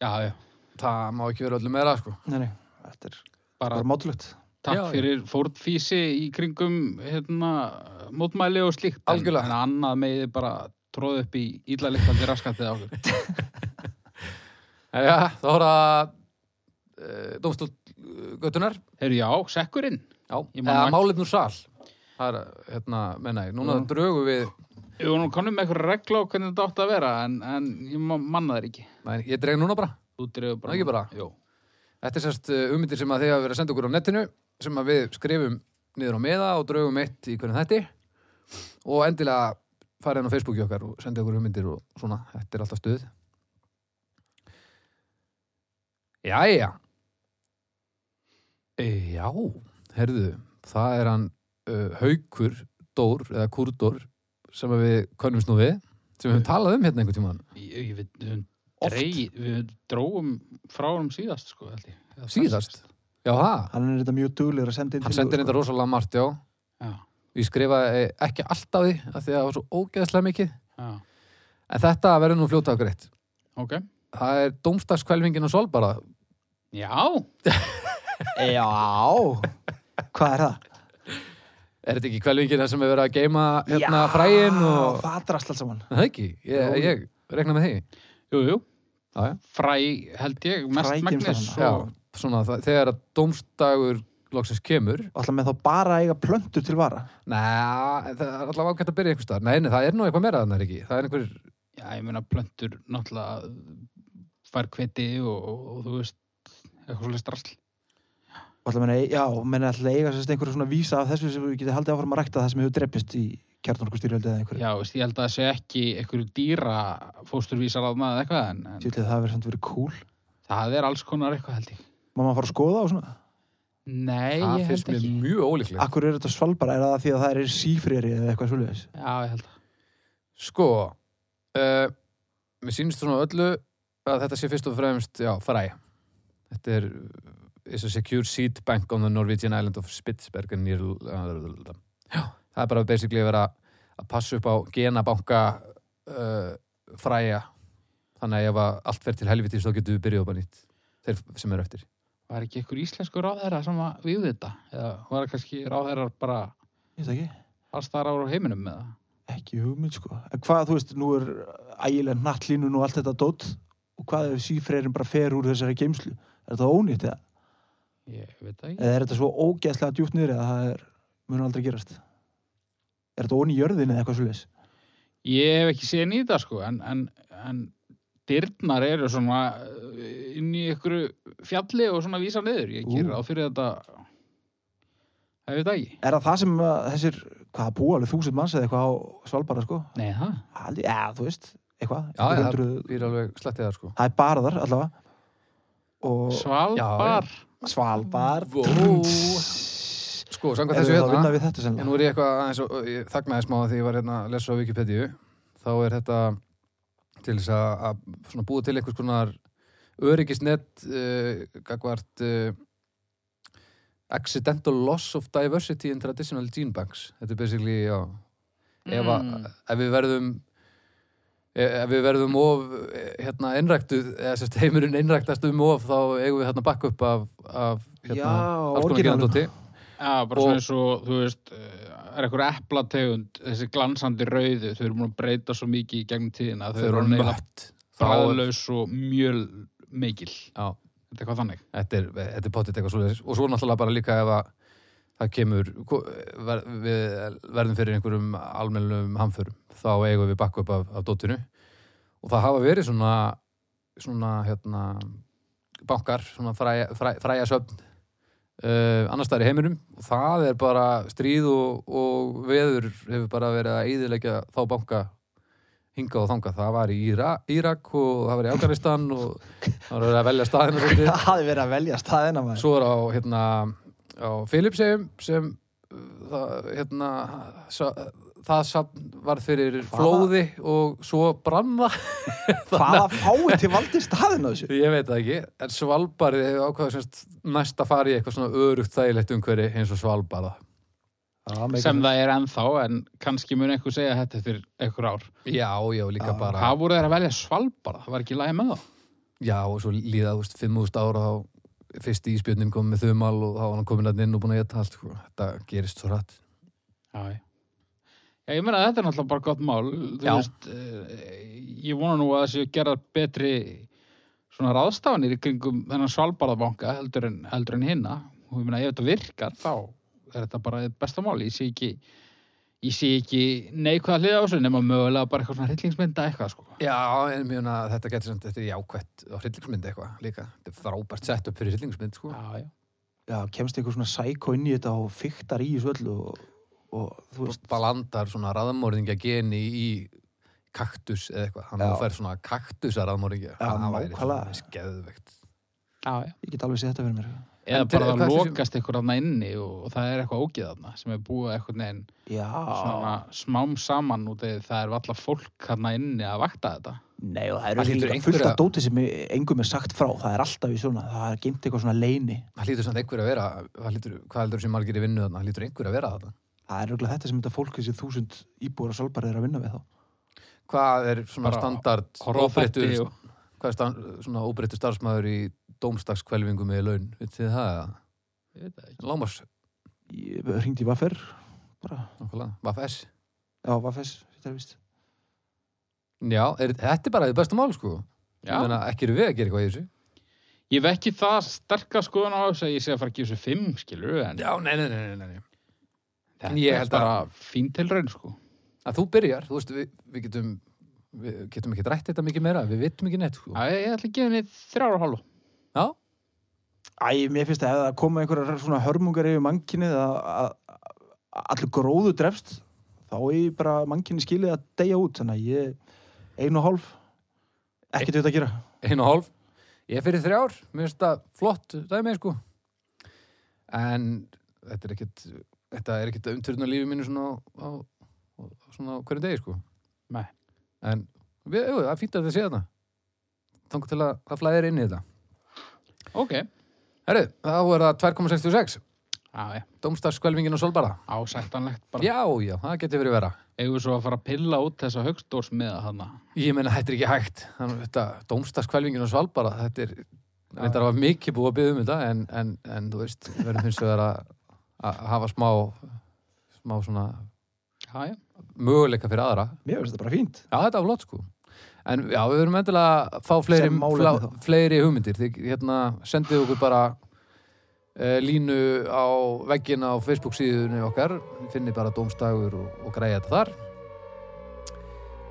[SPEAKER 3] já, já
[SPEAKER 2] Það má ekki vera öllum meira sko
[SPEAKER 1] Nei, nei, þetta er
[SPEAKER 3] bara
[SPEAKER 1] bara mátulegt
[SPEAKER 3] takk
[SPEAKER 2] Já, já.
[SPEAKER 3] fyrir fórnfísi í kringum hérna, mótmæli og slíkt en-
[SPEAKER 2] Algjörlega.
[SPEAKER 3] en annað meði bara tróð upp í íllaliktandi raskatið
[SPEAKER 2] [laughs]
[SPEAKER 3] á okkur
[SPEAKER 2] Já, þá er það uh, Dómstól göttunar
[SPEAKER 3] Herru, já, sekkurinn
[SPEAKER 2] Já,
[SPEAKER 3] Ég man
[SPEAKER 2] eða
[SPEAKER 3] ekki.
[SPEAKER 2] málefnur sal Það er, hérna, menna ég Núna
[SPEAKER 1] Mm.
[SPEAKER 2] drögum við
[SPEAKER 3] Við vorum konum með eitthvað regla og hvernig þetta átti að vera en, en ég ma- manna þær ekki
[SPEAKER 2] Nei, Ég dreg núna bara
[SPEAKER 3] Þú dregur bara
[SPEAKER 2] Ekki bara?
[SPEAKER 3] Jó
[SPEAKER 2] Þetta er sérst uh, ummyndir sem að þið hafa verið að senda okkur á netinu sem að við skrifum niður á meða og draugum eitt í hvernig þetta og endilega farið hann á Facebooki okkar og sendið okkur ummyndir og svona, þetta er alltaf stuð Jæja e, Já, herðu það er hann uh, Haukur Dór eða Kúrdór sem að við könnumst nú við sem við höfum talað um hérna einhvern tímann
[SPEAKER 3] Ég, ég veit, við,
[SPEAKER 1] Oft.
[SPEAKER 3] dreig, við dróum frá honum síðast sko, held ég. Eða
[SPEAKER 2] Síðast?
[SPEAKER 3] þar
[SPEAKER 2] Já, það,
[SPEAKER 1] Hann er þetta mjög duglegur að senda inn
[SPEAKER 2] hann
[SPEAKER 1] tillögur,
[SPEAKER 2] sendir
[SPEAKER 1] sko.
[SPEAKER 2] þetta rosalega margt, já
[SPEAKER 3] Já,
[SPEAKER 2] Ég skrifaði ekki alltaf því af því að það var svo ógeðslega mikið
[SPEAKER 3] já,
[SPEAKER 2] en þetta verður nú fljótað og greitt
[SPEAKER 3] ok
[SPEAKER 2] Það er dómstagskvelvingin og sol bara
[SPEAKER 3] Já,
[SPEAKER 1] Já, hvað er það?
[SPEAKER 2] Er þetta ekki kvelvingin sem er verið að geima hérna
[SPEAKER 1] Já,
[SPEAKER 2] fræin og
[SPEAKER 1] Það drast allt saman
[SPEAKER 2] Er Það ekki, ég,
[SPEAKER 1] Jú.
[SPEAKER 2] ég rekna með því
[SPEAKER 3] jú, jú
[SPEAKER 2] Já, já.
[SPEAKER 3] Fræ, held ég, mest
[SPEAKER 1] Fræ kemst
[SPEAKER 3] magnis
[SPEAKER 1] þarna.
[SPEAKER 2] Já,
[SPEAKER 3] og,
[SPEAKER 2] svona það, þegar að dómstagur loksins kemur
[SPEAKER 1] Og alltaf með þá bara að eiga plöntu til vara
[SPEAKER 2] Nei, það er allavega ágætt að byrja einhvers staðar Nei, nei, það er nú eitthvað meira þannig ekki Það er einhver,
[SPEAKER 3] Já, ég meina plöntur náttúrulega fær kviti og, og, og þú veist eitthvað svolítið strassl
[SPEAKER 1] Og alltaf meina, já, menna alltaf eiga sérst einhverja svona vísa af þessu sem við getið haldið áfram að rækta það sem hefur dreppist í kjarnorkustyrjöldi eða einhverju
[SPEAKER 3] Já, veist, ég held að það sé ekki einhverju dýra fósturvísar að maður eitthvað en, en
[SPEAKER 1] Tjúlið það verið samt verið cool
[SPEAKER 3] það er alls konar eitthvað held ég
[SPEAKER 1] Má maður fara að skoða og svona
[SPEAKER 3] Nei,
[SPEAKER 2] það
[SPEAKER 3] ég
[SPEAKER 2] finnst
[SPEAKER 3] held
[SPEAKER 2] mér
[SPEAKER 3] ekki
[SPEAKER 2] mjög ólíklegt
[SPEAKER 1] Akkur er þetta svalbara, er það því að það er sífrýri eða eitthvað svolítið
[SPEAKER 3] Já, ég held að
[SPEAKER 2] Sko, uh, mér sýnist svona öllu að þetta sé fyrst og fremst, já, fræ. Þetta er uh, is a secure seed bank on the Norwegian island of Spitsberg and near... Já, það er bara basically að vera að passa upp á genabanka uh, fræja. Þannig að ef að allt fer til helvitis þá getum við byrjuð upp að nýtt. Þeir sem eru eftir.
[SPEAKER 3] Var ekki einhver íslensku ráðherra sem var við þetta? Eða var kannski ráðherrar bara
[SPEAKER 1] Ég veit það ekki
[SPEAKER 3] alls þar ára á heiminum með það?
[SPEAKER 1] Ekki hugmynd sko. En hvað, þú veist, nú er ægilega nattlínun og allt þetta dótt og hvað ef sífreyrin bara fer úr þessari geimslu? Er þetta ónýtt eða?
[SPEAKER 3] Ég veit það ekki.
[SPEAKER 1] Eða er þetta svo ógeðslega djúpt niður eða það er, mun aldrei gerast? Er þetta ónýtt í jörðin eða eitthvað svoleiðis?
[SPEAKER 3] Ég hef ekki séð nýta sko, en, en, en dyrnar eru svona eh, inn í einhverju fjalli og svona vísa niður. Ég
[SPEAKER 1] Ú.
[SPEAKER 3] gerir á fyrir þetta, það veit það ekki.
[SPEAKER 1] Er það það sem að, þessir, hvað búa alveg þúsund manns eða eitthvað á Svalbara sko?
[SPEAKER 3] Nei, það?
[SPEAKER 1] Haldi, ja, þú veist, eitthvað,
[SPEAKER 2] Já, já,
[SPEAKER 1] einhver
[SPEAKER 2] það
[SPEAKER 1] hundruð-
[SPEAKER 2] býr alveg slettið það sko.
[SPEAKER 1] það er barðar allavega og
[SPEAKER 3] Svalbar.
[SPEAKER 1] Svalbard
[SPEAKER 2] Vó. Sko,
[SPEAKER 1] Erum
[SPEAKER 2] samkvæmt þessu
[SPEAKER 1] við að vinna
[SPEAKER 2] hérna,
[SPEAKER 1] við þetta
[SPEAKER 2] en
[SPEAKER 1] sennilega?
[SPEAKER 2] nú er ég eitthvað aðeins og og ég þagnaði smá því ég var hérna að lesa á Wikipedia, þá er þetta til þess að, að svona búa til einhvers konar öryggisnett uh, gagvart uh, eh, accidental loss of diversity in traditional gene banks. Þetta er basically, já, ef, að, ef við verðum ef ef við verðum of eh, hérna einræktuð, eða sérst heimurinn einræktast um of, þá eigum við hérna bakk upp af, af
[SPEAKER 1] Já,
[SPEAKER 2] hérna, alls konar
[SPEAKER 1] orginalum.
[SPEAKER 2] gerandóti
[SPEAKER 3] Já, bara
[SPEAKER 2] Og-
[SPEAKER 3] svona eins og, þú veist, eh, er eitthvað eplategund, þessi glansandi rauðu, þau eru múin að breyta svo mikið í gegnum tíðina, að þau eru neila
[SPEAKER 2] mött Þá er-
[SPEAKER 3] bræðlaus og mjöl mikil.
[SPEAKER 2] Já,
[SPEAKER 3] Þetta er hvað þannig.
[SPEAKER 2] þetta er, þetta er potið eitthvað svoleiðis og svo náttúrulega bara líka ef að það kemur, ko- ver, við verðum fyrir einhverjum almennlum hamförum, þá eigum við bakk upp af, af dóttinu og það hafa verið svona svona hérna bankar, svona fræja, fræ, fræja söfn Uh, annars staðar í heiminum og það er bara stríð og, og veður hefur bara verið að eyðileggja þá banka hinga og þanga, það var í Íra, Írak og það var í Afganistan og það var verið að velja staðina svolítið
[SPEAKER 1] [laughs] Það hafði verið að velja staðina maður
[SPEAKER 2] svo er á hérna á Filipsheim sem uh, það, hérna sa, það safn var fyrir flóði og svo brann það [laughs]
[SPEAKER 1] Hvaða fáið til valdi staðina þessu?
[SPEAKER 2] ég veit það ekki, en Svalbarði hefur ákveða semst næst að fara í eitthvað svona örugt þægilegt umhverfi eins og Svalbarða
[SPEAKER 3] Sem það er ennþá, en kannski mun einhver segja þetta eftir einhver ár.
[SPEAKER 2] já, já, líka
[SPEAKER 1] Já.
[SPEAKER 2] bara
[SPEAKER 3] Hvað voru þeir að velja Svalbar? Það var ekki lægi með það.
[SPEAKER 2] já, og svo líða, þú veist, 5.000 ára þá fyrst íspjörnin kom með þumal og þá var hann komin að inn og búin að geta allt sko. þetta gerist svo rætt
[SPEAKER 3] Já, já. Já, ég meina að þetta er náttúrulega bara gott mál. Þú
[SPEAKER 2] Já.
[SPEAKER 3] veist, eh, ég vona nú að það séu gerðar betri svona ráðstafanir í kringum þennan Svalbarðabanka heldur en, heldur en hinna. Og ég meina, ef þetta virkar, þá er þetta bara eitt besta mál. Ég sé ekki, ég sé ekki neikvæða hliða á þessu nema mögulega bara eitthvað svona hryllingsmynda eitthvað, sko.
[SPEAKER 2] Já, en mjög að þetta getur samt þetta er jákvætt á hryllingsmynd eitthvað líka. Þetta er frábært sett upp fyrir hryllingsmynd, sko.
[SPEAKER 3] Já, já.
[SPEAKER 1] Já, kemst einhver svona sækó inn í þetta og fyktar í þessu öllu og, og þú veist,
[SPEAKER 2] Balandar svona raðmóringja geni í kaktus eða eitthvað. Hann
[SPEAKER 1] Já.
[SPEAKER 2] fær svona kaktusa raðmóringja.
[SPEAKER 1] Já, nákvæmlega.
[SPEAKER 2] Skeðvegt.
[SPEAKER 3] Já, já.
[SPEAKER 1] ég get alveg séð þetta fyrir mér
[SPEAKER 3] Eða
[SPEAKER 2] En til-
[SPEAKER 3] bara
[SPEAKER 2] hvað
[SPEAKER 3] það
[SPEAKER 2] er þessi-
[SPEAKER 3] lokast ykkur aðna inni og, og það er eitthvað ógiðaðna sem er búið eitthvað neginn
[SPEAKER 1] Já,
[SPEAKER 3] svona smám saman út eða það er valla fólk hann inni að vakta þetta
[SPEAKER 1] nei og það
[SPEAKER 2] Það
[SPEAKER 1] eru
[SPEAKER 2] hlýtur
[SPEAKER 1] líka
[SPEAKER 2] einhverja-
[SPEAKER 1] fullt af dóti sem engum er sagt frá, það er alltaf í svona það er geimt eitthvað svona leini
[SPEAKER 2] Það hlýtur samt einhver að vera, það hlýtur, hvað heldur sem margir í vinnu þarna? Það hlýtur einhver að vera þarna.
[SPEAKER 1] Það er auðvitað þetta sem þetta fólk þessi þúsund íbúar að solbara er að vinna við þá
[SPEAKER 2] Hvað er svona
[SPEAKER 3] Bara
[SPEAKER 2] standard,
[SPEAKER 3] horfa á
[SPEAKER 2] óbreyttur,
[SPEAKER 3] þætti og-
[SPEAKER 2] hvað er stand, svona óbreyttur starfsmæður í dómstakskvelvingu með laun? Veit þið það? eða?
[SPEAKER 3] sko.
[SPEAKER 2] Lámars,
[SPEAKER 1] Ég ringdi í Vaffer bara,
[SPEAKER 2] nákvæmlega, Vaf S.
[SPEAKER 1] já, Vaffes, þetta er vist
[SPEAKER 2] Já, er, þetta er bara þið besta mál, sko.
[SPEAKER 3] Já.
[SPEAKER 2] Ég meina, ekki eru við að gera eitthvað í þessu.
[SPEAKER 3] ég vekki það sterka skoðan á þess að ég sé að fara að gefa þessu fimm skilur en
[SPEAKER 2] Já, nei, nei, nei, nei, nei.
[SPEAKER 3] þetta
[SPEAKER 2] ég
[SPEAKER 3] er
[SPEAKER 2] held að-
[SPEAKER 3] bara fín tilraun sko
[SPEAKER 2] Að þú byrjar, þú veist, við, við getum við getum ekki drætt þetta mikið meira, við vitum ekki neitt, sko.
[SPEAKER 3] Já, ég ég ætla að gefa henni þrjára og hálfa
[SPEAKER 2] Já,
[SPEAKER 1] Æ, mér finnst að ef það koma einhverjar svona hörmungar yfir mannkinni að að allur gróðu drefst þá er ég bara mannkinni skilið að deyja út þannig að ég einu og hálf ekkert þetta að gera
[SPEAKER 2] einu og hálf. Ég er fyrir þrjár, mér finnst þetta flott dæmi, sko. En þetta er ekkit, þetta er ekkit umturðun á lífi mínu svona á, á, svona á hverjum degi, sko.
[SPEAKER 3] Nei.
[SPEAKER 2] En, við, jú, það er fínt að þetta sé þarna. Þangur til að það flæðir inn í þetta.
[SPEAKER 3] ok,
[SPEAKER 2] Herru, þá er það 2,66.
[SPEAKER 3] já, já,
[SPEAKER 2] Dómstagskvelvingin og solbara.
[SPEAKER 3] ásættanlegt bara
[SPEAKER 2] Já, já, það getur verið vera.
[SPEAKER 3] eigum við svo að fara að pilla út þessa högstórs með hana
[SPEAKER 2] Ég meina, þetta er ekki hægt. Þannig, þetta, dómstakskvælvingin og svalbara, þetta er, þetta var mikið búið að byggja um þetta, en, en, en þú veist, við verðum hins vegar að, að hafa smá, smá svona
[SPEAKER 3] já, já,
[SPEAKER 2] möguleika fyrir aðra.
[SPEAKER 1] Mér finnst þetta bara fínt
[SPEAKER 2] Já, þetta var flott, sko. En já, við verðum endilega að fá fleiri,
[SPEAKER 1] Sem málefni
[SPEAKER 2] flá-
[SPEAKER 1] þá.
[SPEAKER 2] fleiri hugmyndir. Þið, hérna, sendið okkur bara e, línu á veggina á Facebook síðunni okkar, Þið finnið bara dómstagur og, og græja þetta þar.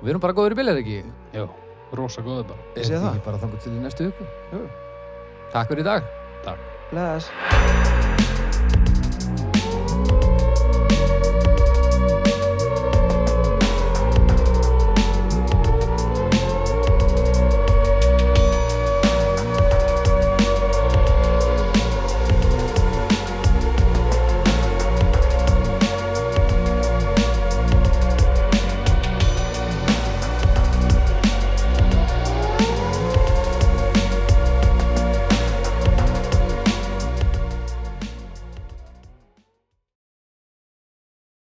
[SPEAKER 2] Við erum bara góður í byljar, ekki?
[SPEAKER 3] já, rosa góðu bara
[SPEAKER 1] Ég segi
[SPEAKER 2] Er þetta
[SPEAKER 1] það.
[SPEAKER 2] ekki bara þangur til í næstu viku
[SPEAKER 1] Jú.
[SPEAKER 2] takk fyrir í dag
[SPEAKER 1] Bless